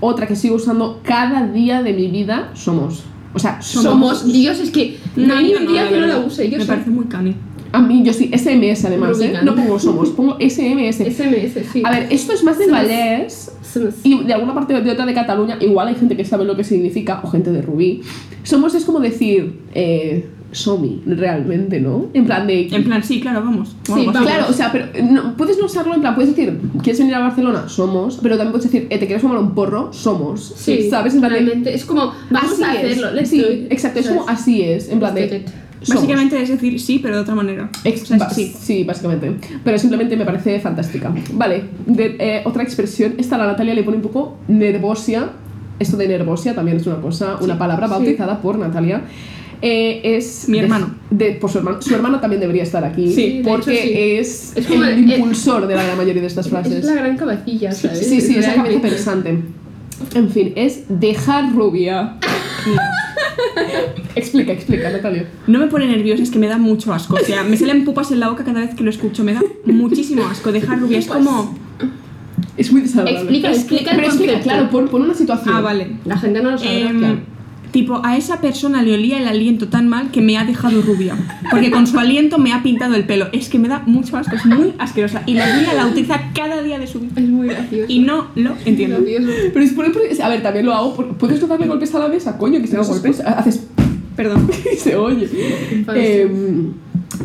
[SPEAKER 1] otra que sigo usando cada día de mi vida somos. O sea,
[SPEAKER 2] Somos Dios, es que no hay ni un día que no la
[SPEAKER 3] verdad.
[SPEAKER 2] use. Yo
[SPEAKER 3] Me
[SPEAKER 2] soy
[SPEAKER 3] parece muy cani.
[SPEAKER 1] A mí, yo sí, SMS además, ¿eh?
[SPEAKER 2] Rubicán.
[SPEAKER 1] No pongo somos, pongo SMS.
[SPEAKER 2] SMS, sí.
[SPEAKER 1] A ver, esto es más de
[SPEAKER 2] Somos.
[SPEAKER 1] Vallés
[SPEAKER 2] Somos-
[SPEAKER 1] y de alguna parte o de otra de Cataluña, igual hay gente que sabe lo que significa, o gente de Rubí. Somos es como decir, eh, somi, realmente, ¿no? En plan de...
[SPEAKER 3] En plan, sí, claro, vamos.
[SPEAKER 1] Sí,
[SPEAKER 3] vamos.
[SPEAKER 1] claro, o sea, pero no- puedes no usarlo en plan, puedes decir, ¿quieres venir a Barcelona? Somos, pero también puedes decir, eh, ¿te quieres fumar un porro? Somos.
[SPEAKER 2] Sí,
[SPEAKER 1] ¿sabes? En plan de,
[SPEAKER 2] realmente. Es como, vamos
[SPEAKER 1] así
[SPEAKER 2] a hacerlo.
[SPEAKER 1] es.
[SPEAKER 2] let's
[SPEAKER 1] Sí,
[SPEAKER 2] do it.
[SPEAKER 1] exacto, es
[SPEAKER 2] ¿Sabes?
[SPEAKER 1] como así es, en plan
[SPEAKER 2] Let's
[SPEAKER 1] de...
[SPEAKER 2] do it.
[SPEAKER 1] somos.
[SPEAKER 3] Básicamente es decir sí, pero de otra manera.
[SPEAKER 1] Ex-
[SPEAKER 3] O sea,
[SPEAKER 1] ba-
[SPEAKER 3] sí.
[SPEAKER 1] sí, básicamente. Pero simplemente me parece fantástica. Vale, de- eh, otra expresión. Esta la Natalia le pone un poco nervosia. Esto de nervosia también es una cosa, una palabra
[SPEAKER 2] sí.
[SPEAKER 1] bautizada por Natalia. Eh, es
[SPEAKER 3] Mi
[SPEAKER 1] de-
[SPEAKER 3] hermano.
[SPEAKER 1] De, por su hermano. Su hermano también debería estar aquí.
[SPEAKER 3] Sí, de
[SPEAKER 2] hecho,
[SPEAKER 1] porque
[SPEAKER 2] sí.
[SPEAKER 1] es,
[SPEAKER 2] Es como
[SPEAKER 1] el,
[SPEAKER 2] el-
[SPEAKER 1] impulsor de la gran mayoría de estas frases.
[SPEAKER 2] Es la gran cabecilla, ¿sabes?
[SPEAKER 1] Sí, sí, es la cabeza
[SPEAKER 2] Realmente.
[SPEAKER 1] pensante. En fin, es dejar
[SPEAKER 2] *laughs*
[SPEAKER 1] rubia. explica, explica, Natalia.
[SPEAKER 3] No me pone nerviosa, es que me da mucho asco. O sea, me salen pupas en la boca cada vez que lo escucho. Me da muchísimo asco. Dejar rubia es como.
[SPEAKER 1] Es muy desagradable.
[SPEAKER 2] Explica, explica el
[SPEAKER 1] Pero explica,
[SPEAKER 2] concepto.
[SPEAKER 1] claro, pon, pon una situación.
[SPEAKER 3] Ah, vale.
[SPEAKER 2] La gente no lo sabe.
[SPEAKER 3] Em,
[SPEAKER 1] claro.
[SPEAKER 3] Tipo, a esa persona le olía el aliento tan mal que me ha dejado rubia. Porque con su aliento me ha pintado el pelo. Es que me da mucho asco, es muy asquerosa. Y la rubia la utiliza cada día de su vida.
[SPEAKER 2] Es muy gracioso.
[SPEAKER 3] Y no lo entiendo.
[SPEAKER 2] Gracioso.
[SPEAKER 1] Pero es por, por- a ver, también lo hago. por- ¿Puedes no darle golpes a la mesa? Coño, que se
[SPEAKER 3] No,
[SPEAKER 1] nos
[SPEAKER 3] golpes.
[SPEAKER 1] escucha. Haces *laughs*
[SPEAKER 3] Perdón.
[SPEAKER 1] y se oye.
[SPEAKER 2] Parece.
[SPEAKER 1] Em,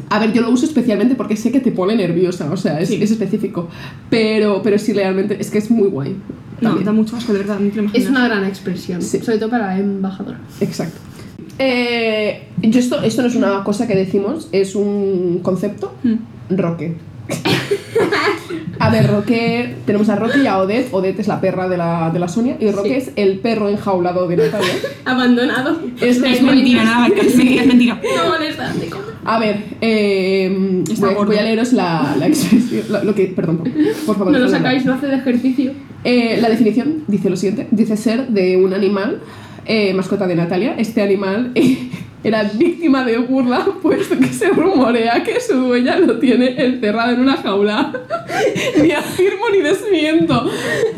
[SPEAKER 1] a ver, yo lo uso especialmente porque sé que te pone nerviosa, o sea, es,
[SPEAKER 3] Sí.
[SPEAKER 1] es específico. Pero, pero sí, realmente, es que es muy guay.
[SPEAKER 3] No,
[SPEAKER 1] También.
[SPEAKER 3] da mucho asco, de verdad, no te lo imaginas.
[SPEAKER 2] Es una gran expresión,
[SPEAKER 1] Sí.
[SPEAKER 2] sobre todo para la embajadora.
[SPEAKER 1] Exacto. Eh, yo esto, esto no es una cosa que decimos, es un concepto.
[SPEAKER 3] Mm.
[SPEAKER 1] Roque. A ver, Roque, tenemos a Roque y a Odette. Odette es la perra de la, de la Sonia y Roque
[SPEAKER 2] Sí.
[SPEAKER 1] es el perro enjaulado de
[SPEAKER 2] *laughs*
[SPEAKER 1] Natalia. Este
[SPEAKER 2] Abandonado.
[SPEAKER 1] Es
[SPEAKER 3] Es mentira, nada, es mentira, es mentira.
[SPEAKER 2] No molesta, te como.
[SPEAKER 1] A ver, eh,
[SPEAKER 3] Está
[SPEAKER 1] voy, a-
[SPEAKER 3] gordo.
[SPEAKER 1] voy a leeros la, la expresión. Lo, lo que, perdón, por favor.
[SPEAKER 2] No lo
[SPEAKER 1] Fernanda.
[SPEAKER 2] sacáis, no hace de ejercicio.
[SPEAKER 1] Eh, la definición dice lo siguiente: dice ser de un animal, eh, mascota de Natalia. Este animal *laughs* eh, era víctima de burla, *laughs* puesto que se rumorea que su dueña lo tiene encerrado en una jaula. *laughs* ni afirmo ni desmiento.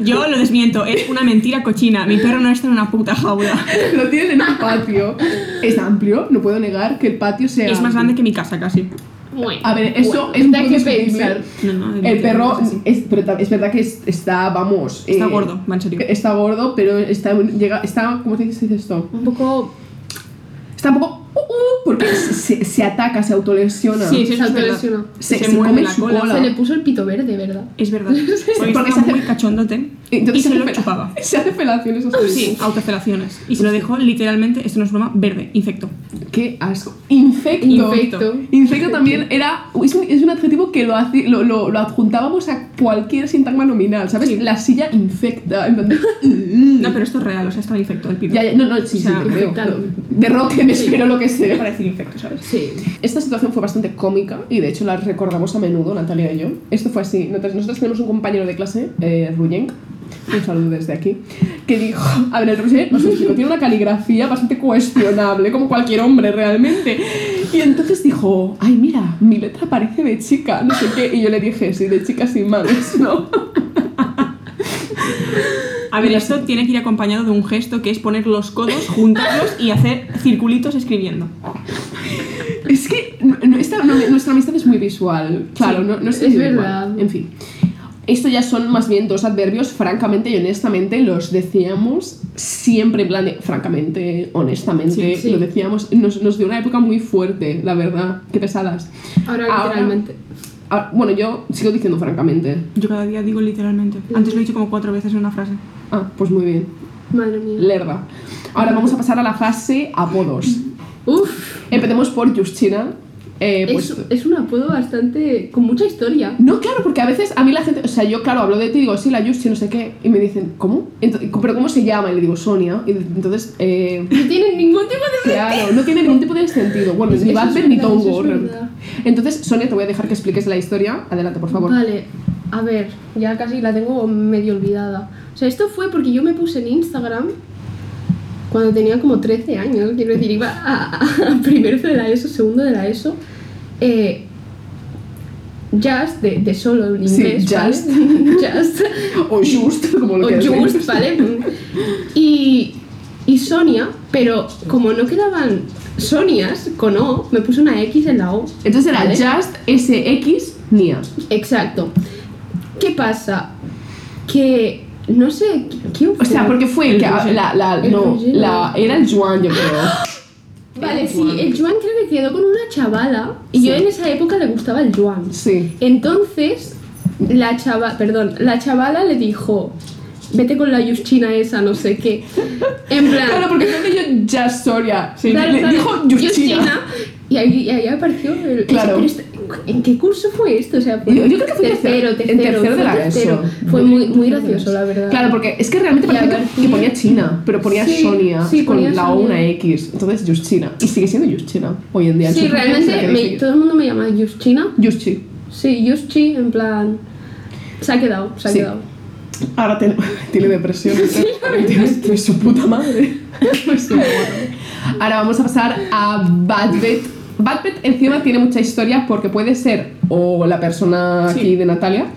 [SPEAKER 3] Yo lo desmiento, es una mentira cochina. Mi perro no está en una puta jaula.
[SPEAKER 1] Lo tienen en un patio. Es amplio, no puedo negar que el patio sea.
[SPEAKER 3] Es más grande que mi casa casi.
[SPEAKER 2] Bueno.
[SPEAKER 1] A ver, eso
[SPEAKER 2] Bueno,
[SPEAKER 1] es un
[SPEAKER 2] da
[SPEAKER 1] poco
[SPEAKER 2] que
[SPEAKER 1] discutible.
[SPEAKER 2] pensar.
[SPEAKER 3] No, no,
[SPEAKER 1] El perro
[SPEAKER 3] es así.
[SPEAKER 1] es, pero ta- es verdad que es- está, vamos.
[SPEAKER 3] Está
[SPEAKER 1] eh,
[SPEAKER 3] gordo, va en serio.
[SPEAKER 1] Está gordo, pero está, llega, está ¿cómo se dice esto?
[SPEAKER 2] Un poco
[SPEAKER 1] Está un poco. uh, uh, porque se, se- se ataca, se autolesiona.
[SPEAKER 3] Sí, sí,
[SPEAKER 2] se
[SPEAKER 3] eso es verdad.
[SPEAKER 2] autolesionó.
[SPEAKER 1] Se- se
[SPEAKER 3] mueve
[SPEAKER 1] come
[SPEAKER 3] la
[SPEAKER 1] su
[SPEAKER 3] cola.
[SPEAKER 1] cola.
[SPEAKER 2] Se le puso el pito verde, ¿verdad?
[SPEAKER 1] *laughs*
[SPEAKER 3] Es verdad. Porque
[SPEAKER 1] Porque se
[SPEAKER 3] estaba
[SPEAKER 1] hace-
[SPEAKER 3] muy cachondote
[SPEAKER 1] Entonces
[SPEAKER 3] y se
[SPEAKER 1] hace
[SPEAKER 3] lo
[SPEAKER 1] fel-
[SPEAKER 3] chupaba.
[SPEAKER 1] *laughs* Se hace felaciones a su
[SPEAKER 3] Sí,
[SPEAKER 1] hijo.
[SPEAKER 3] autofelaciones. Y se lo dejó literalmente, esto no es broma, verde, infecto.
[SPEAKER 1] Qué asco. Infecto.
[SPEAKER 3] Infecto. *laughs*
[SPEAKER 1] Infecto también era. Es un, es un adjetivo que lo, hace- lo, lo- lo adjuntábamos a cualquier sintagma nominal, ¿sabes?
[SPEAKER 3] Sí.
[SPEAKER 1] La silla infecta. En plan de-
[SPEAKER 3] *laughs* No, pero esto es real, o sea, estaba infecto el pito.
[SPEAKER 1] Ya, ya, no, no, sí,
[SPEAKER 3] O sea,
[SPEAKER 1] sí, te creo.
[SPEAKER 2] infectado.
[SPEAKER 1] De rock me espero lo que sea.
[SPEAKER 3] Para decir infecto, ¿sabes?
[SPEAKER 2] Sí.
[SPEAKER 1] Esta situación fue bastante cómica y de hecho la recordamos a menudo, Natalia y yo. Esto fue así. Nosotros, nosotros tenemos un compañero de clase, eh, Ruyenk, un saludo desde aquí, que dijo, a ver, el Ruyenk nos explicó, tiene una caligrafía bastante cuestionable, como cualquier hombre realmente. Y entonces dijo, ay, mira, mi letra parece de chica, no sé qué. Y yo le dije, sí, de chica sin manos, ¿no?
[SPEAKER 3] A ver, esto tiene que ir acompañado de un gesto que es poner los codos, juntarlos y hacer circulitos escribiendo.
[SPEAKER 1] Es que n- n- esta- no, nuestra amistad es muy visual, claro,
[SPEAKER 2] Sí,
[SPEAKER 1] no, no es,
[SPEAKER 2] es
[SPEAKER 1] individual.
[SPEAKER 2] verdad.
[SPEAKER 1] En fin. Esto ya son más bien dos adverbios, francamente y honestamente, los decíamos siempre en plan de francamente, honestamente,
[SPEAKER 2] Sí, sí.
[SPEAKER 1] lo decíamos, nos, nos dio una época muy fuerte, la verdad, qué pesadas.
[SPEAKER 2] Ahora
[SPEAKER 1] Ahora-
[SPEAKER 2] literalmente.
[SPEAKER 1] Ah, bueno, yo sigo diciendo francamente.
[SPEAKER 3] Yo cada día digo literalmente. Antes lo he dicho como cuatro veces en una frase.
[SPEAKER 1] Ah, pues muy bien,
[SPEAKER 2] Madre mía.
[SPEAKER 1] lerda. Ahora vamos a pasar a la fase
[SPEAKER 2] *laughs*
[SPEAKER 1] apodos.
[SPEAKER 2] Uf,
[SPEAKER 1] Empecemos por Justina. eh,
[SPEAKER 2] es,
[SPEAKER 1] pues-
[SPEAKER 2] es un apodo bastante. con mucha historia.
[SPEAKER 1] No, claro, porque a veces a mí la gente, o sea, yo claro, hablo de ti y digo, sí, la Justin, no sé qué, y me dicen, ¿cómo? Ento- ¿Pero cómo se llama? Y le digo, Sonia. Y entonces, eh,
[SPEAKER 2] *laughs* No tiene ningún tipo de.
[SPEAKER 1] claro, no tiene ningún tipo de sentido. Bueno,
[SPEAKER 3] Pues
[SPEAKER 2] Eso
[SPEAKER 1] ni
[SPEAKER 2] es
[SPEAKER 1] Batman ni
[SPEAKER 2] verdad,
[SPEAKER 1] Tom
[SPEAKER 2] eso es
[SPEAKER 1] Warren.
[SPEAKER 2] verdad.
[SPEAKER 1] Entonces, Sonia, te voy a dejar que expliques la historia. Adelante, por favor.
[SPEAKER 2] Vale, a ver, ya casi la tengo medio olvidada. O sea, esto fue porque yo me puse en Instagram cuando tenía como 13 años, quiero decir, iba a, a- *laughs* a primero de la ESO, segundo de la ESO. eh, Just, de, de solo en
[SPEAKER 1] Sí,
[SPEAKER 2] inglés, ¿vale? *laughs*
[SPEAKER 1] just. *laughs*
[SPEAKER 2] Just.
[SPEAKER 1] O Just, como lo
[SPEAKER 2] o
[SPEAKER 1] quieras decir.
[SPEAKER 2] Just, ¿vale? Y, y Sonia, pero como no quedaban Sonias con O, me puse una X en la O.
[SPEAKER 1] Entonces era
[SPEAKER 2] ¿vale?
[SPEAKER 1] Just SX Nia.
[SPEAKER 2] Exacto. ¿Qué pasa? Que no sé quién
[SPEAKER 1] O
[SPEAKER 2] fue.
[SPEAKER 1] sea, porque fue el que
[SPEAKER 2] Roger.
[SPEAKER 1] la, la,
[SPEAKER 2] El
[SPEAKER 1] no,
[SPEAKER 2] Roger.
[SPEAKER 1] la, era el Juan, yo
[SPEAKER 2] *gasps*
[SPEAKER 1] creo.
[SPEAKER 2] Vale,
[SPEAKER 1] el
[SPEAKER 2] sí,
[SPEAKER 1] Joan.
[SPEAKER 2] el Joan creo que quedó con una chavala y
[SPEAKER 1] Sí.
[SPEAKER 2] yo en esa época le gustaba el Joan.
[SPEAKER 1] Sí.
[SPEAKER 2] Entonces, la chava, perdón, la chavala le dijo, "Vete con la Yuschina esa, no sé qué."
[SPEAKER 1] *laughs*
[SPEAKER 2] En plan,
[SPEAKER 1] Claro, porque creo que yo Just Sonia.
[SPEAKER 3] Sí.
[SPEAKER 2] Claro,
[SPEAKER 1] le
[SPEAKER 2] claro.
[SPEAKER 1] dijo Justina.
[SPEAKER 2] Y ahí, y ahí apareció el.
[SPEAKER 1] Claro.
[SPEAKER 2] pero este- ¿En qué curso fue esto? O sea, fue
[SPEAKER 1] Yo- yo creo que fue
[SPEAKER 2] tercero,
[SPEAKER 1] en tercero,
[SPEAKER 2] tercero.
[SPEAKER 1] en tercero de
[SPEAKER 2] fue
[SPEAKER 1] la
[SPEAKER 2] tercero.
[SPEAKER 1] ESO.
[SPEAKER 2] Fue muy, muy gracioso, la verdad.
[SPEAKER 1] Claro, porque es que realmente
[SPEAKER 2] Y a
[SPEAKER 1] parecía
[SPEAKER 2] ver,
[SPEAKER 1] que, que ponía China, pero ponía
[SPEAKER 2] Sí,
[SPEAKER 1] Sonia
[SPEAKER 2] sí,
[SPEAKER 1] con
[SPEAKER 2] ponía
[SPEAKER 1] la O
[SPEAKER 2] Sonia.
[SPEAKER 1] una X. Entonces, Just China. Y sigue siendo Just China hoy en día.
[SPEAKER 2] Sí,
[SPEAKER 1] Yo creo que se la
[SPEAKER 2] realmente
[SPEAKER 1] quedó
[SPEAKER 2] me-
[SPEAKER 1] así.
[SPEAKER 2] todo el mundo me llama Yuschina.
[SPEAKER 1] Just Chi.
[SPEAKER 2] Sí, Yuschi, en plan. Se ha quedado, se ha
[SPEAKER 1] Sí.
[SPEAKER 2] quedado.
[SPEAKER 1] Ahora ten- tiene *laughs* depresión. tiene tiene su puta madre. Pues su madre. Ahora vamos a pasar a Badbet. Badbet encima tiene mucha historia porque puede ser o la persona
[SPEAKER 3] Sí.
[SPEAKER 1] aquí de Natalia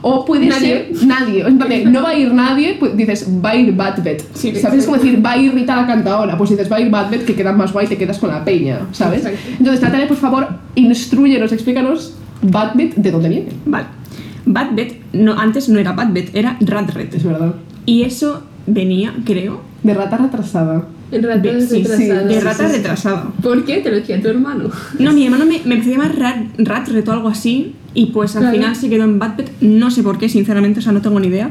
[SPEAKER 1] o puede
[SPEAKER 2] Nadie.
[SPEAKER 1] ser nadie. En plan de, no va a ir nadie, pues dices va a ir Badbet.
[SPEAKER 3] Sí,
[SPEAKER 1] ¿Sabes? Es como decir va a ir Rita la cantadora. Pues dices va a ir Badbet que queda más guay, te quedas con la peña, ¿sabes?
[SPEAKER 2] Exacto.
[SPEAKER 1] Entonces Natalia, por favor, instruyenos, explícanos Badbet de dónde viene.
[SPEAKER 3] Vale. Badbet, no, antes no era Badbet, era Ratred.
[SPEAKER 1] Es verdad.
[SPEAKER 3] Y eso venía, creo,
[SPEAKER 1] De rata retrasada.
[SPEAKER 2] El rato
[SPEAKER 3] Ve-
[SPEAKER 2] es
[SPEAKER 3] Ah, sí, sí,
[SPEAKER 2] retrasado.
[SPEAKER 3] de rata retrasada.
[SPEAKER 2] ¿Por qué? Te lo decía tu hermano.
[SPEAKER 3] No, mi hermano me, me empezó a llamar Rat, Ratret o algo así, y pues al
[SPEAKER 2] Claro.
[SPEAKER 3] final se quedó en Badbet, no sé por qué, sinceramente, o sea, no tengo ni idea,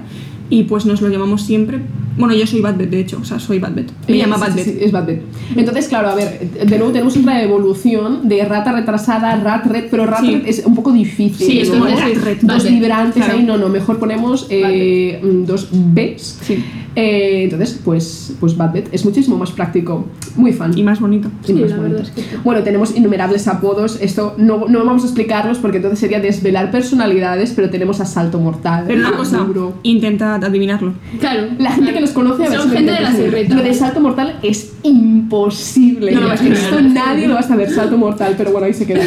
[SPEAKER 3] y pues nos lo llamamos siempre. Bueno, yo soy Badbet, de hecho, o sea, soy Badbet. Me
[SPEAKER 1] Eh,
[SPEAKER 3] llama
[SPEAKER 1] sí, sí,
[SPEAKER 3] Badbet.
[SPEAKER 1] sí, es Batman. Entonces, claro, a ver, de nuevo tenemos otra evolución de rata retrasada, rat red, pero rat
[SPEAKER 3] Sí.
[SPEAKER 1] red es un poco difícil.
[SPEAKER 3] Sí, es
[SPEAKER 1] ¿no?
[SPEAKER 3] como
[SPEAKER 1] Dos-
[SPEAKER 3] rat red,
[SPEAKER 1] Dos
[SPEAKER 3] Batman,
[SPEAKER 1] vibrantes
[SPEAKER 3] claro.
[SPEAKER 1] ahí, no, no, mejor ponemos eh, mm, dos Bs.
[SPEAKER 3] Sí.
[SPEAKER 1] Eh, entonces, pues, pues Batman es muchísimo más práctico, muy fan.
[SPEAKER 3] Y más bonito.
[SPEAKER 1] y
[SPEAKER 2] Sí,
[SPEAKER 1] más
[SPEAKER 2] la
[SPEAKER 1] bonito.
[SPEAKER 2] verdad es que sí.
[SPEAKER 1] Bueno, tenemos innumerables apodos, esto no, no vamos a explicarlos porque entonces sería desvelar personalidades, pero tenemos asalto mortal.
[SPEAKER 3] Pero una cosa,
[SPEAKER 1] Duro.
[SPEAKER 3] intentad adivinarlo.
[SPEAKER 2] Claro.
[SPEAKER 1] La gente que nos conoce a ver
[SPEAKER 2] Son
[SPEAKER 1] si lo
[SPEAKER 2] gente de la
[SPEAKER 1] entiende.
[SPEAKER 2] serreta.
[SPEAKER 1] Lo de salto mortal es imposible.
[SPEAKER 3] No lo vas a
[SPEAKER 1] Esto
[SPEAKER 3] saber.
[SPEAKER 1] nadie lo va a saber, salto mortal, pero bueno, ahí se queda.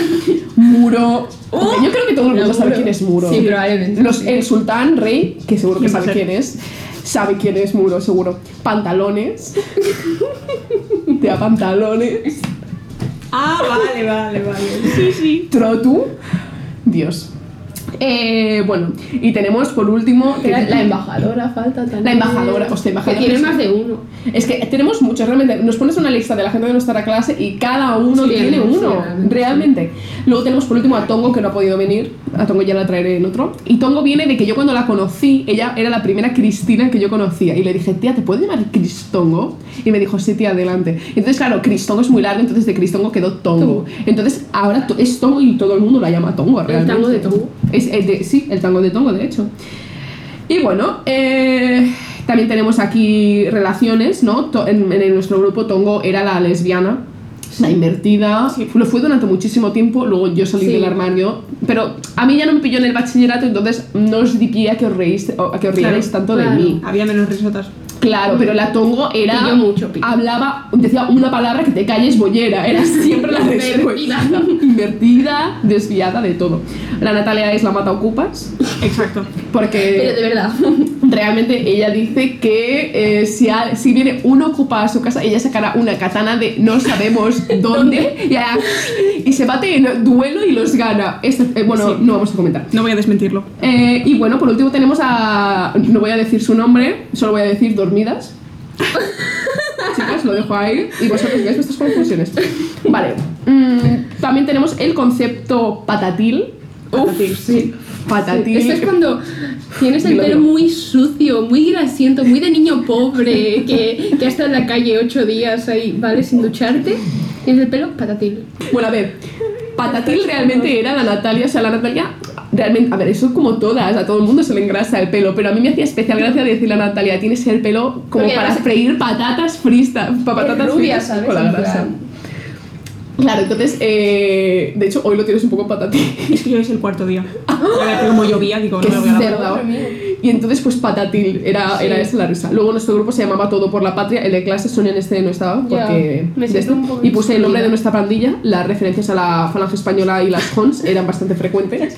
[SPEAKER 1] Muro. Yo creo que todo el mundo
[SPEAKER 2] Uh. Muro.
[SPEAKER 1] sabe quién es Muro.
[SPEAKER 2] Sí, probablemente.
[SPEAKER 1] Los- el sultán, rey, que seguro que
[SPEAKER 3] ¿Quién va a
[SPEAKER 1] sabe
[SPEAKER 3] ser?
[SPEAKER 1] quién es. Sabe quién es Muro, seguro. Pantalones. *laughs* Te da pantalones.
[SPEAKER 3] Ah, vale, vale, vale. Sí, sí.
[SPEAKER 1] Trotu. Dios. Eh, bueno, y tenemos por último. que-
[SPEAKER 2] Era La embajadora falta también.
[SPEAKER 1] La embajadora, hostia, embajadora.
[SPEAKER 2] Que tiene más de uno.
[SPEAKER 1] Es que tenemos muchos, realmente. Nos pones una lista de la gente de nuestra clase y cada uno
[SPEAKER 2] Sí,
[SPEAKER 1] tiene
[SPEAKER 2] sí,
[SPEAKER 1] uno, realmente.
[SPEAKER 2] realmente.
[SPEAKER 1] Luego tenemos por último a Tongo, que no ha podido venir. A Tongo ya la traeré en otro. Y Tongo viene de que yo cuando la conocí, ella era la primera Cristina que yo conocía. Y le dije, tía, ¿te puedo llamar Cristongo? Y me dijo, sí, tía, adelante. Entonces, claro, Cristongo es muy largo, entonces de Cristongo quedó Tongo.
[SPEAKER 2] Tongo.
[SPEAKER 1] Entonces, ahora to- es Tongo y todo el mundo la llama Tongo, realmente.
[SPEAKER 2] tango de Tongo.
[SPEAKER 1] Es, el de- sí, el tango de Tongo, de hecho. Y bueno, eh, también tenemos aquí relaciones, ¿no? To- En, en nuestro grupo Tongo era la lesbiana, la invertida.
[SPEAKER 3] Sí.
[SPEAKER 1] Lo fue durante muchísimo tiempo, luego yo salí
[SPEAKER 2] Sí.
[SPEAKER 1] del armario. Pero a mí ya no me pilló en el bachillerato, entonces no os diría que os, reís, o- que os
[SPEAKER 3] Claro,
[SPEAKER 1] rierais tanto
[SPEAKER 2] claro.
[SPEAKER 1] de mí.
[SPEAKER 3] Había menos risotas.
[SPEAKER 1] Claro, pero la Tongo era.
[SPEAKER 2] Pilló mucho, pilló.
[SPEAKER 1] Hablaba, decía una palabra que te calles, bollera.
[SPEAKER 2] *laughs*
[SPEAKER 1] Era siempre la
[SPEAKER 2] Invertida.
[SPEAKER 1] respuesta. *laughs* Invertida, desviada de todo. La Natalia es la mata ocupas.
[SPEAKER 3] Exacto.
[SPEAKER 1] Porque
[SPEAKER 2] Pero de verdad.
[SPEAKER 1] eh, realmente ella dice que eh, si, a- si viene uno ocupa a su casa, ella sacará una katana de no sabemos dónde y, hará y se bate en duelo y los gana. Este- eh, bueno,
[SPEAKER 3] Sí.
[SPEAKER 1] no vamos a comentar.
[SPEAKER 3] No voy a desmentirlo.
[SPEAKER 1] Eh, y bueno, por último tenemos a... No voy a decir su nombre, solo voy a decir dormidas. Chicas, lo dejo ahí y vosotros veáis vuestras conclusiones. Vale. mm, también tenemos el concepto patatil.
[SPEAKER 3] Patatil, sí.
[SPEAKER 1] Patatil.
[SPEAKER 2] Esto Este es cuando tienes el
[SPEAKER 1] Dilo,
[SPEAKER 2] pelo
[SPEAKER 1] dilo.
[SPEAKER 2] muy sucio, muy grasiento, muy de niño pobre, que, que está en la calle ocho días ahí, ¿vale? Sin ducharte. Tienes el pelo patatil.
[SPEAKER 1] Bueno, a ver, Patatil realmente era la Natalia, o sea, la Natalia, realmente, a ver, eso como todas, a todo el mundo se le engrasa el pelo, pero a mí me hacía especial gracia decirle a Natalia, tienes el pelo como
[SPEAKER 2] Porque
[SPEAKER 1] para
[SPEAKER 2] además-
[SPEAKER 1] freír patatas fritas, pa- patatas
[SPEAKER 2] Es rubia,
[SPEAKER 1] fritas
[SPEAKER 2] ¿sabes?
[SPEAKER 1] con la
[SPEAKER 2] En
[SPEAKER 1] grasa.
[SPEAKER 2] plan.
[SPEAKER 1] Claro, entonces, eh, de hecho, hoy lo tienes un poco patatil.
[SPEAKER 3] Es que hoy es el cuarto día. Ya que como llovía, digo, no
[SPEAKER 1] Que
[SPEAKER 3] me voy a lavar.
[SPEAKER 1] cerda.
[SPEAKER 2] Pobre mío.
[SPEAKER 1] Y entonces, pues patatil, era,
[SPEAKER 2] Sí.
[SPEAKER 1] era esa la risa. Luego nuestro grupo se llamaba Todo por la Patria, el de clase Sonia en este no estaba,
[SPEAKER 2] Ya,
[SPEAKER 1] porque.
[SPEAKER 2] me
[SPEAKER 1] de
[SPEAKER 2] siento
[SPEAKER 1] este.
[SPEAKER 2] un poco
[SPEAKER 1] y puse el nombre
[SPEAKER 2] excluida.
[SPEAKER 1] de nuestra pandilla, las referencias a la Falange Española y las Hons eran bastante
[SPEAKER 2] *laughs*
[SPEAKER 1] frecuentes,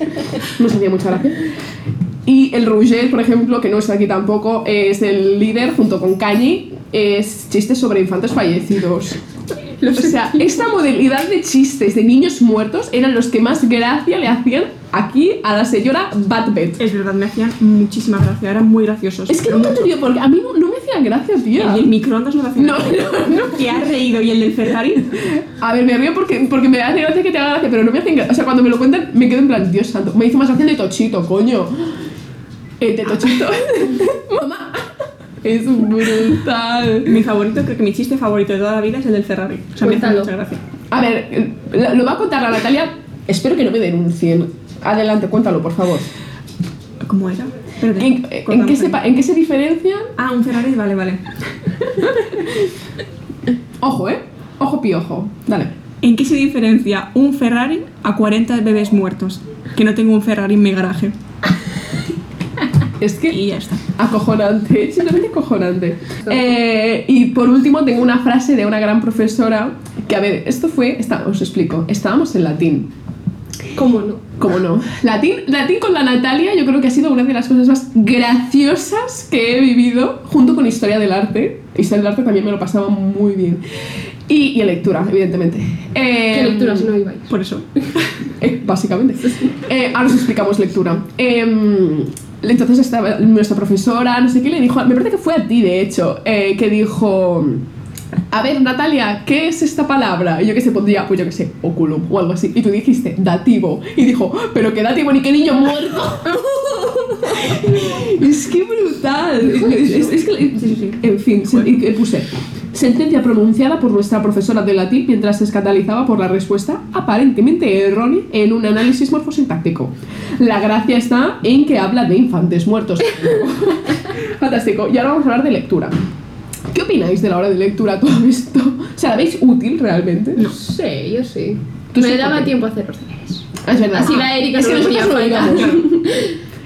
[SPEAKER 1] nos hacía mucha gracia. Y el Rouget, por ejemplo, que no está aquí tampoco, es el líder junto con Cañi, es chistes sobre infantes
[SPEAKER 2] *laughs*
[SPEAKER 1] fallecidos. O sea, esta modalidad de chistes de niños muertos eran los que más gracia le hacían aquí a la señora Batbet.
[SPEAKER 3] Es verdad, me hacían muchísimas gracias, eran muy graciosos.
[SPEAKER 1] Es que
[SPEAKER 3] pero
[SPEAKER 1] nunca
[SPEAKER 3] mucho.
[SPEAKER 1] te digo porque a mí no, no me hacían gracia, tía.
[SPEAKER 3] Y el microondas no me
[SPEAKER 1] *laughs*
[SPEAKER 3] hacía
[SPEAKER 1] No,
[SPEAKER 3] gracia.
[SPEAKER 1] no, no.
[SPEAKER 3] Que ha reído y el del Ferrari.
[SPEAKER 1] A ver, me río porque, porque me hace gracia que te haga gracia, pero no me hacen gracia. O sea, cuando me lo cuentan, me quedo en plan, Dios santo. Me hizo más gracia el de Tochito, coño. El de Tochito. *laughs* Mamá. Es brutal.
[SPEAKER 3] Mi favorito, creo que mi chiste favorito de toda la vida es el del Ferrari. O sea, me hace
[SPEAKER 2] Cuéntalo.
[SPEAKER 3] mucha gracia.
[SPEAKER 1] A ver, lo lo va a contar la Natalia. Espero que no me denuncien. Adelante, cuéntalo, por favor.
[SPEAKER 3] ¿Cómo era? Pero
[SPEAKER 1] ¿En, en qué, se, pa- ¿En qué se diferencia?
[SPEAKER 3] Ah, un Ferrari, vale, vale.
[SPEAKER 1] Ojo, ¿eh? Ojo piojo. Dale.
[SPEAKER 3] ¿En qué se diferencia un Ferrari a 40 bebés muertos? Que no tengo un Ferrari en mi garaje.
[SPEAKER 1] Es que
[SPEAKER 3] Y ya está.
[SPEAKER 1] Acojonante, *laughs* simplemente acojonante. Eh, y por último tengo una frase de una gran profesora que, a ver, esto fue, está- os explico, estábamos en latín,
[SPEAKER 2] ¿Cómo no?
[SPEAKER 1] ¿cómo no? Latín, latín con la Natalia yo creo que ha sido una de las cosas más graciosas que he vivido, junto con historia del arte. Historia del arte también me lo pasaba muy bien. Y, y lectura, evidentemente.
[SPEAKER 2] ¿Qué
[SPEAKER 1] Eh,
[SPEAKER 2] lectura si no ibais?
[SPEAKER 1] *laughs*
[SPEAKER 3] Por eso.
[SPEAKER 1] eh, básicamente. Eh, ahora os explicamos lectura. Em, entonces estaba nuestra profesora, no sé qué, le dijo, me parece que fue a ti de hecho, eh, que dijo, a ver Natalia, ¿qué es esta palabra? Y yo que se pondría, pues yo que sé, oculum o algo así. Y tú dijiste, dativo. Y dijo, pero qué dativo ni qué niño muerto. *laughs* es que brutal. Es, es- es que- En fin, se- y- y puse. Sentencia pronunciada por nuestra profesora de latín mientras se escandalizaba por la respuesta aparentemente errónea en un análisis morfosintáctico. La gracia está en que habla de infantes
[SPEAKER 2] *laughs*
[SPEAKER 1] muertos. Fantástico. Y ahora vamos a hablar de lectura. ¿Qué opináis de la hora de lectura todo esto? O sea, ¿la veis útil realmente?
[SPEAKER 2] No sé, yo sí.
[SPEAKER 1] Tú
[SPEAKER 2] me
[SPEAKER 1] sí,
[SPEAKER 2] daba
[SPEAKER 1] porque-
[SPEAKER 2] tiempo a hacer los deberes.
[SPEAKER 1] Ah, Es verdad.
[SPEAKER 2] Así la Erika
[SPEAKER 1] es
[SPEAKER 2] no
[SPEAKER 1] que
[SPEAKER 2] lo
[SPEAKER 1] nosotras
[SPEAKER 2] tenía
[SPEAKER 1] no
[SPEAKER 2] en cuenta.
[SPEAKER 1] íbamos.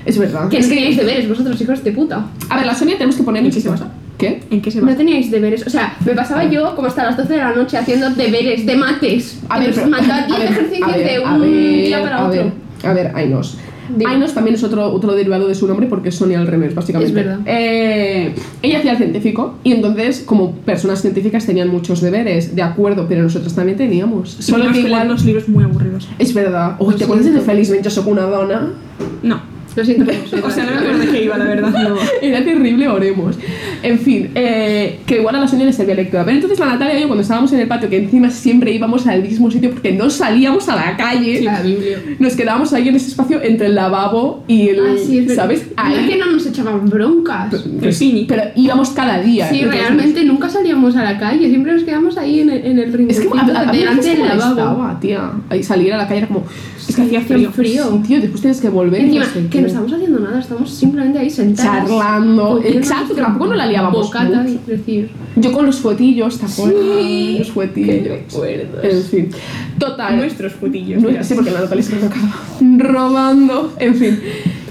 [SPEAKER 1] Es verdad.
[SPEAKER 2] ¿Qué no teníais deberes vosotros, hijos de puta?
[SPEAKER 1] A ver, la Sonia tenemos que poner
[SPEAKER 3] Muchísimas.
[SPEAKER 1] muchísimas. ¿Qué?
[SPEAKER 3] ¿En qué se va?
[SPEAKER 2] No teníais deberes. O sea, me pasaba yo como hasta las 12 de la noche haciendo deberes de mates.
[SPEAKER 1] A ver, pero-
[SPEAKER 2] Entonces, mandaba 10
[SPEAKER 1] a ver,
[SPEAKER 2] ejercicios
[SPEAKER 1] a ver,
[SPEAKER 2] de
[SPEAKER 1] a
[SPEAKER 2] un
[SPEAKER 1] ver,
[SPEAKER 2] día para
[SPEAKER 1] a
[SPEAKER 2] otro.
[SPEAKER 1] ver, A ver, Ainos.
[SPEAKER 2] Dime.
[SPEAKER 1] Ainos también es otro, otro derivado de su nombre porque es Sonia al revés, básicamente.
[SPEAKER 2] Es verdad.
[SPEAKER 1] Eh, ella hacía el científico y entonces, como personas científicas, tenían muchos deberes, de acuerdo, pero nosotros también teníamos.
[SPEAKER 3] Y
[SPEAKER 1] Solo
[SPEAKER 3] nos
[SPEAKER 1] que
[SPEAKER 3] pelaban
[SPEAKER 1] igual.
[SPEAKER 3] los libros muy aburridos.
[SPEAKER 1] Es verdad. Uy, ¿te
[SPEAKER 2] Lo
[SPEAKER 1] acuerdas de
[SPEAKER 2] siento.
[SPEAKER 1] Felizmente yo soy una dona? *laughs*
[SPEAKER 3] No.
[SPEAKER 2] Lo siento por vosotras.
[SPEAKER 3] O sea, no me acuerdo de qué iba, la verdad. No.
[SPEAKER 1] Era terrible, oremos. En fin, eh, que igual a la Sonia le servía lectura. Pero entonces la Natalia y yo, cuando estábamos en el patio, que encima siempre íbamos al mismo sitio porque no salíamos a la calle,
[SPEAKER 2] la Biblia.
[SPEAKER 1] nos quedábamos ahí en ese espacio entre el lavabo y el.
[SPEAKER 2] Ah, sí, es verdad.
[SPEAKER 1] ¿Sabes?
[SPEAKER 2] No es que
[SPEAKER 1] Ahí.
[SPEAKER 2] no nos echaban broncas.
[SPEAKER 1] Pero,
[SPEAKER 3] sí.
[SPEAKER 1] pero íbamos cada día.
[SPEAKER 2] Sí,
[SPEAKER 1] Entonces, pues,
[SPEAKER 2] realmente nunca salíamos a la calle, siempre nos quedamos ahí en el, en el
[SPEAKER 1] Es que
[SPEAKER 2] rinconcito
[SPEAKER 1] a, a- a mí me
[SPEAKER 2] delante del lavabo.
[SPEAKER 1] molestaba, tía. Ahí salir a la calle era como.
[SPEAKER 3] Es que hacía
[SPEAKER 2] Hacía
[SPEAKER 3] frío.
[SPEAKER 2] frío.
[SPEAKER 1] Tío, después tienes que volver. y
[SPEAKER 2] Encima,
[SPEAKER 1] no sé
[SPEAKER 2] que
[SPEAKER 1] qué.
[SPEAKER 2] no estamos haciendo nada, estamos simplemente ahí sentados.
[SPEAKER 1] Charlando. Exacto, tampoco no la liábamos
[SPEAKER 2] Bocata,
[SPEAKER 1] mucho.
[SPEAKER 2] es decir.
[SPEAKER 1] Yo con los fuetillos, ¿te acuerdas?
[SPEAKER 2] Sí,
[SPEAKER 1] los fuetillos. En fin. Total.
[SPEAKER 3] Nuestros putillos.
[SPEAKER 1] No, sí, porque la Natalia se lo acaba *laughs* robando. En fin.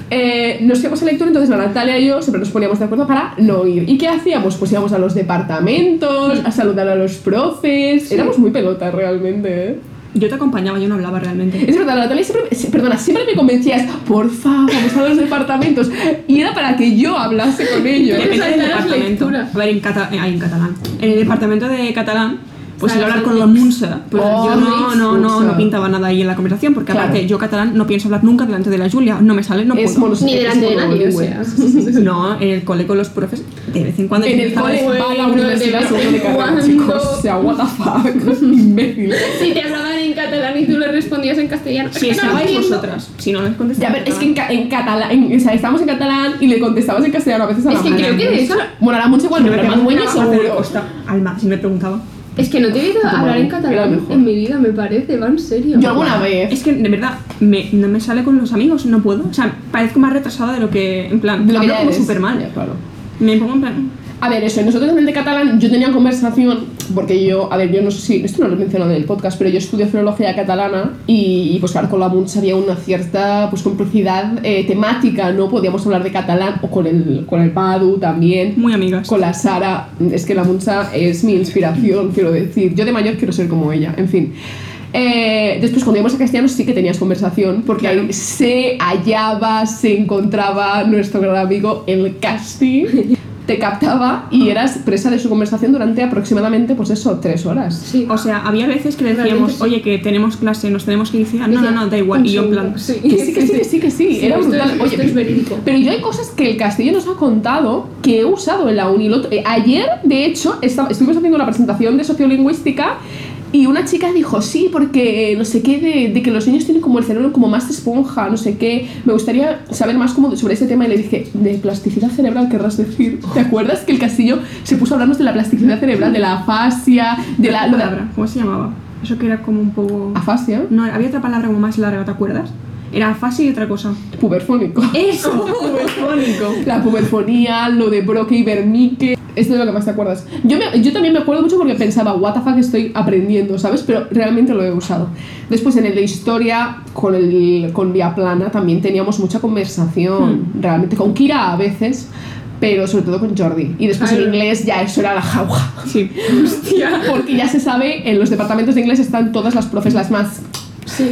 [SPEAKER 1] Eh, nos íbamos a lectura, entonces la Natalia y yo siempre nos poníamos de acuerdo para no ir. ¿Y qué hacíamos? Pues íbamos a los departamentos, a saludar a los profes. Éramos muy pelotas realmente, ¿eh?
[SPEAKER 3] Yo te acompañaba, yo no hablaba realmente.
[SPEAKER 1] Es verdad, la Natalia siempre, sí, perdona, siempre me convencías, por favor, vamos a los departamentos. Y era para que yo hablase con ellos.
[SPEAKER 2] Pero-
[SPEAKER 3] Depende
[SPEAKER 2] Esas
[SPEAKER 3] del
[SPEAKER 2] eran las
[SPEAKER 3] departamento.
[SPEAKER 2] lecturas.
[SPEAKER 3] A ver, en, cata- eh, ay, en catalán. En el departamento de catalán, pues
[SPEAKER 2] Claro,
[SPEAKER 3] iba a hablar
[SPEAKER 2] sí.
[SPEAKER 3] con la Munsa. Pues
[SPEAKER 1] Oh,
[SPEAKER 3] yo no, no, no,
[SPEAKER 1] Munsa.
[SPEAKER 3] no pintaba nada ahí en la conversación, porque
[SPEAKER 1] Claro.
[SPEAKER 3] aparte yo catalán no pienso hablar nunca delante de la Julia, no me sale, no
[SPEAKER 1] Es
[SPEAKER 3] puedo.
[SPEAKER 1] monos-
[SPEAKER 2] Ni
[SPEAKER 1] es
[SPEAKER 2] delante de nadie, o
[SPEAKER 1] monolingüe.
[SPEAKER 2] sea.
[SPEAKER 3] No, en el cole con los profes, de vez en cuando.
[SPEAKER 1] En el
[SPEAKER 3] empezaba
[SPEAKER 1] cole
[SPEAKER 3] eso.
[SPEAKER 1] va a la universidad seguro de carrera,
[SPEAKER 2] ¿Cuándo?
[SPEAKER 1] chicos. O sea, what the fuck. *laughs* Imbécil.
[SPEAKER 2] Si te hablaban en catalán y tú le respondías en castellano.
[SPEAKER 3] Si
[SPEAKER 2] es que no lo
[SPEAKER 3] estabais
[SPEAKER 2] entiendo.
[SPEAKER 3] vosotras, si no les
[SPEAKER 1] Ya,
[SPEAKER 3] contestaba.
[SPEAKER 1] pero es que en, ca- en catalán, en- o sea, estábamos en catalán y le contestabas en castellano a veces a la
[SPEAKER 2] Es que
[SPEAKER 1] mala.
[SPEAKER 2] creo que de eso.
[SPEAKER 1] Bueno, a la mucho cuando
[SPEAKER 3] me
[SPEAKER 1] era más buena seguro.
[SPEAKER 3] Alma, si me preguntaba.
[SPEAKER 2] Es que no te he oído
[SPEAKER 1] Tomar
[SPEAKER 2] hablar en
[SPEAKER 1] un- era
[SPEAKER 2] catalán
[SPEAKER 1] mejor.
[SPEAKER 2] en mi vida, me parece, va en serio.
[SPEAKER 1] Yo alguna vez.
[SPEAKER 3] Es que de verdad, me- no me sale con los amigos, no puedo. O sea, parezco más retrasada de lo que. En plan,
[SPEAKER 1] De lo que
[SPEAKER 3] hablo
[SPEAKER 1] ya
[SPEAKER 3] como
[SPEAKER 1] eres.
[SPEAKER 3] súper mal.
[SPEAKER 1] Ya, claro.
[SPEAKER 3] Me pongo en plan.
[SPEAKER 1] A ver, eso, nosotros en el de catalán, yo tenía conversación, porque yo, a ver, yo no sé si, esto no lo he mencionado en el podcast, pero yo estudio filología catalana y, y, pues claro, con la Munch había una cierta pues complicidad eh, temática, ¿no? Podíamos hablar de catalán o con el, con el Padu también,
[SPEAKER 3] Muy amigas.
[SPEAKER 1] con la Sara, es que la Muncha es mi inspiración, quiero decir, yo de mayor quiero ser como ella, en fin. Eh, después cuando íbamos a castellano sí que tenías conversación porque ahí se hallaba, se encontraba nuestro gran amigo el casting te captaba y eras presa de su conversación durante aproximadamente, pues eso, tres horas.
[SPEAKER 2] Sí.
[SPEAKER 3] O sea, había veces que le
[SPEAKER 2] Realmente
[SPEAKER 3] decíamos,
[SPEAKER 2] sí.
[SPEAKER 3] oye, que tenemos clase, nos tenemos que ir. Y, ah, No, no, no, da igual.
[SPEAKER 2] Un
[SPEAKER 3] Y yo en plan.
[SPEAKER 2] segundo, Sí,
[SPEAKER 1] Que sí, que sí, que sí, que sí,
[SPEAKER 2] Sí,
[SPEAKER 1] era
[SPEAKER 2] esto
[SPEAKER 1] brutal.
[SPEAKER 2] es-
[SPEAKER 1] Oye,
[SPEAKER 2] esto es verídico.
[SPEAKER 1] Pero yo hay cosas que el Castillo nos ha contado que he usado en la uni. El otro- eh, ayer, de hecho, esta- estuvimos haciendo una presentación de sociolingüística y una chica dijo, sí, porque eh, no sé qué, de, de que los niños tienen como el cerebro como más de esponja, no sé qué. Me gustaría saber más como sobre ese tema y le dije, de plasticidad cerebral querrás decir. *laughs* ¿Te acuerdas que el Castillo se puso a hablarnos de la plasticidad cerebral, de la afasia, de la... lo de-
[SPEAKER 3] palabra? ¿Cómo se llamaba? Eso que era como un poco.
[SPEAKER 1] afasia,
[SPEAKER 3] No, había otra palabra como más larga, ¿te acuerdas? Era fácil y otra cosa.
[SPEAKER 1] puberfónico.
[SPEAKER 3] *laughs* Eso, fónico.
[SPEAKER 1] La puberfonía, lo de Broque y Bernique. Esto es lo que más te acuerdas. Yo, me- yo también me acuerdo mucho porque pensaba, what the fuck estoy aprendiendo, ¿sabes? Pero realmente lo he usado. Después en el de historia, con, el, con Vía Plana, también teníamos mucha conversación, realmente, con Kira a veces, pero sobre todo con Jordi. Y después en
[SPEAKER 2] Claro.
[SPEAKER 1] inglés ya eso era la jauja.
[SPEAKER 3] Sí.
[SPEAKER 2] Hostia.
[SPEAKER 1] Porque ya se sabe, en los departamentos de inglés están todas las profes, las más
[SPEAKER 2] Sí.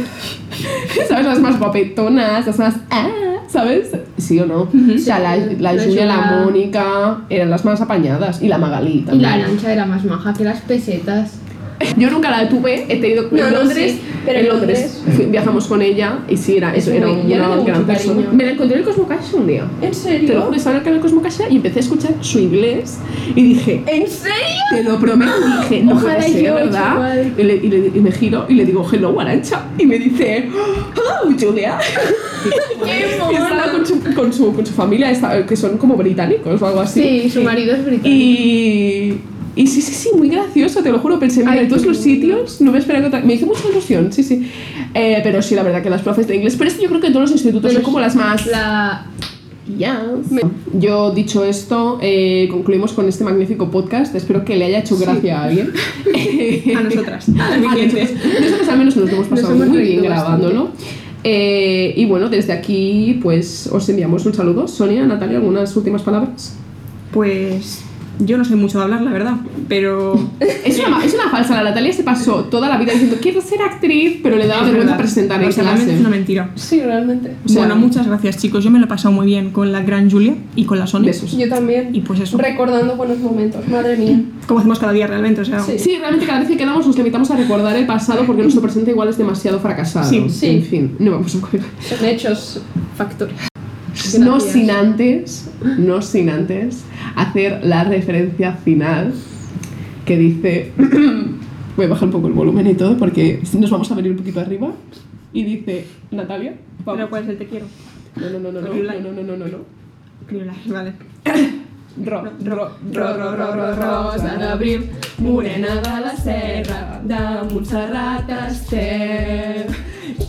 [SPEAKER 1] *laughs* ¿Sabes? Las más guapetonas, las más. ah, ¿Sabes? ¿Sí o no? O sea, la, la,
[SPEAKER 2] La
[SPEAKER 1] Julia, la
[SPEAKER 2] Julia.
[SPEAKER 1] Mónica eran las más apañadas. Y la Magalí
[SPEAKER 2] Y
[SPEAKER 1] también.
[SPEAKER 2] la arancha era más maja que las pesetas.
[SPEAKER 1] *laughs* Yo nunca la tuve, he tenido.
[SPEAKER 2] No,
[SPEAKER 1] en
[SPEAKER 2] no,
[SPEAKER 1] Londres.
[SPEAKER 2] sí, pero
[SPEAKER 1] en
[SPEAKER 2] en
[SPEAKER 1] Londres. fui- viajamos con ella y sí, era, eso,
[SPEAKER 2] Es
[SPEAKER 1] era
[SPEAKER 2] muy-
[SPEAKER 1] un
[SPEAKER 2] yo le
[SPEAKER 1] gran
[SPEAKER 2] tengo mucho
[SPEAKER 1] persona.
[SPEAKER 2] cariño.
[SPEAKER 1] Me la encontré en el Cosmo Cash un día.
[SPEAKER 2] ¿En
[SPEAKER 1] Te lo
[SPEAKER 2] serio?
[SPEAKER 1] juro, estaba en el canal Cosmo Cash y empecé a escuchar su inglés y dije,
[SPEAKER 2] ¿En serio?
[SPEAKER 1] Te lo prometo, dije, no
[SPEAKER 2] Ojalá
[SPEAKER 1] puede ser,
[SPEAKER 2] yo,
[SPEAKER 1] ¿verdad?
[SPEAKER 2] chaval.
[SPEAKER 1] Y, le- y le- y me giro y le digo, hello, Arancha. Y me dice, hello, Julia.
[SPEAKER 2] ¡Qué
[SPEAKER 1] Y estaba con su, con su, con su familia, esta- eh, que son como británicos o algo así.
[SPEAKER 2] Sí, su marido es británico.
[SPEAKER 1] Y, y sí, sí, sí, muy gracioso, te lo juro. Pensé, mira,
[SPEAKER 2] Ay,
[SPEAKER 1] en todos
[SPEAKER 2] qué
[SPEAKER 1] los
[SPEAKER 2] lindo.
[SPEAKER 1] sitios no me esperaba encontrar. Me hizo mucha ilusión, sí, sí. Eh, pero sí, la verdad que las profes de inglés. Pero es que yo creo que en todos los institutos pues son
[SPEAKER 2] Pero
[SPEAKER 1] como
[SPEAKER 2] sí,
[SPEAKER 1] las más.
[SPEAKER 2] La...
[SPEAKER 1] Yes. Yo dicho esto, eh, concluimos con este magnífico podcast. Espero que le haya hecho gracia a
[SPEAKER 2] *laughs*
[SPEAKER 1] alguien. *laughs*
[SPEAKER 3] A nosotras. A los
[SPEAKER 1] Nosotros
[SPEAKER 3] oyentes.
[SPEAKER 1] nosotros al menos nos lo hemos
[SPEAKER 2] Nos
[SPEAKER 1] pasado
[SPEAKER 2] hemos
[SPEAKER 1] muy bien
[SPEAKER 2] reído bastante.
[SPEAKER 1] grabándolo. Eh, y bueno, desde aquí pues os enviamos un saludo. Sonia, Natalia, ¿algunas últimas palabras?
[SPEAKER 3] Pues yo no sé mucho de hablar, la verdad,
[SPEAKER 1] *laughs*
[SPEAKER 3] pero
[SPEAKER 1] Es una, ma- es una falsa, la Natalia se pasó toda la vida diciendo quiero ser actriz, pero le daba
[SPEAKER 3] Es
[SPEAKER 1] vergüenza
[SPEAKER 3] verdad.
[SPEAKER 1] presentar en
[SPEAKER 3] O sea, realmente
[SPEAKER 1] clase.
[SPEAKER 3] es una mentira.
[SPEAKER 2] Sí, realmente.
[SPEAKER 1] O sea,
[SPEAKER 3] bueno, muchas gracias, chicos. Yo me lo he pasado muy bien con la gran Julia y con la Sony.
[SPEAKER 1] Besos.
[SPEAKER 2] Yo también.
[SPEAKER 3] Y pues eso.
[SPEAKER 2] Recordando buenos momentos, madre mía.
[SPEAKER 3] Como hacemos cada día realmente, o sea.
[SPEAKER 2] Sí.
[SPEAKER 1] Sí, realmente cada vez que quedamos nos limitamos a recordar el pasado porque nuestro presente igual es demasiado fracasado.
[SPEAKER 3] Sí,
[SPEAKER 2] sí.
[SPEAKER 1] En fin, no vamos a
[SPEAKER 2] Son *laughs* hechos, factores.
[SPEAKER 1] No
[SPEAKER 2] Gracias.
[SPEAKER 1] sin antes, no sin antes hacer la referencia final que dice. *clears throat* Voy a bajar un poco el volumen y todo porque nos vamos a venir un poquito arriba. Y dice, Natalia,
[SPEAKER 3] Pero
[SPEAKER 1] vamos.
[SPEAKER 3] cuál es el te quiero.
[SPEAKER 1] No, no, no, no, no, no, no, no, no, no.
[SPEAKER 3] Vale.
[SPEAKER 1] Ro, ro, ro,
[SPEAKER 3] Ro, ro, ro, ro, rosa d'abril,
[SPEAKER 1] morena
[SPEAKER 3] de la serra,
[SPEAKER 1] de Montserrat Esther.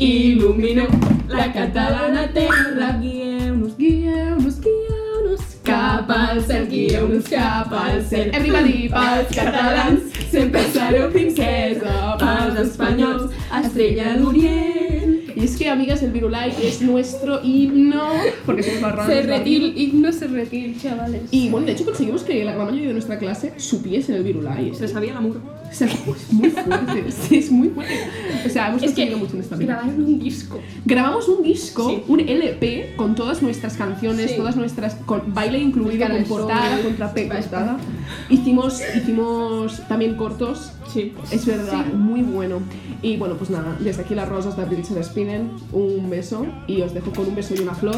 [SPEAKER 1] Il·lumineu
[SPEAKER 3] la catalana terra.
[SPEAKER 1] Guieu-nos, guieu-nos, guieu-nos cap al cel, guieu-nos cap al cel. Everybody, pels catalans, sempre sereu princesa, pels espanyols, estrella d'Orient. Y es que, amigas, el Virulai es nuestro himno, porque somos más raros.
[SPEAKER 2] Serretil, himno serretil, chavales.
[SPEAKER 1] Y bueno, de hecho conseguimos que la gran mayoría de nuestra clase supiese el Virulai. ¿eh?
[SPEAKER 3] Se sabía la muro.
[SPEAKER 1] O sea, *laughs* es muy fuerte. Sí, es muy fuerte. O sea, hemos
[SPEAKER 2] Es que
[SPEAKER 1] conseguido mucho en esta vida.
[SPEAKER 2] grabaron un disco.
[SPEAKER 1] Grabamos un disco,
[SPEAKER 3] Sí.
[SPEAKER 1] un LP, con todas nuestras canciones,
[SPEAKER 2] Sí.
[SPEAKER 1] todas nuestras. con baile incluido, con
[SPEAKER 2] Canciones,
[SPEAKER 1] portada,
[SPEAKER 2] sonidos,
[SPEAKER 1] con trape,
[SPEAKER 2] sí,
[SPEAKER 1] portada. Hicimos, hicimos también cortos.
[SPEAKER 3] Sí.
[SPEAKER 1] Es verdad, muy bueno. Y bueno, pues nada, desde aquí las rosas de abril se despiden. Un beso y os dejo con un beso y una flor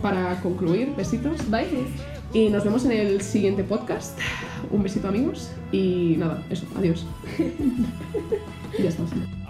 [SPEAKER 1] para concluir. Besitos.
[SPEAKER 2] Bye.
[SPEAKER 1] Y nos vemos en el siguiente podcast. Un besito amigos y nada, eso, adiós. y ya estamos.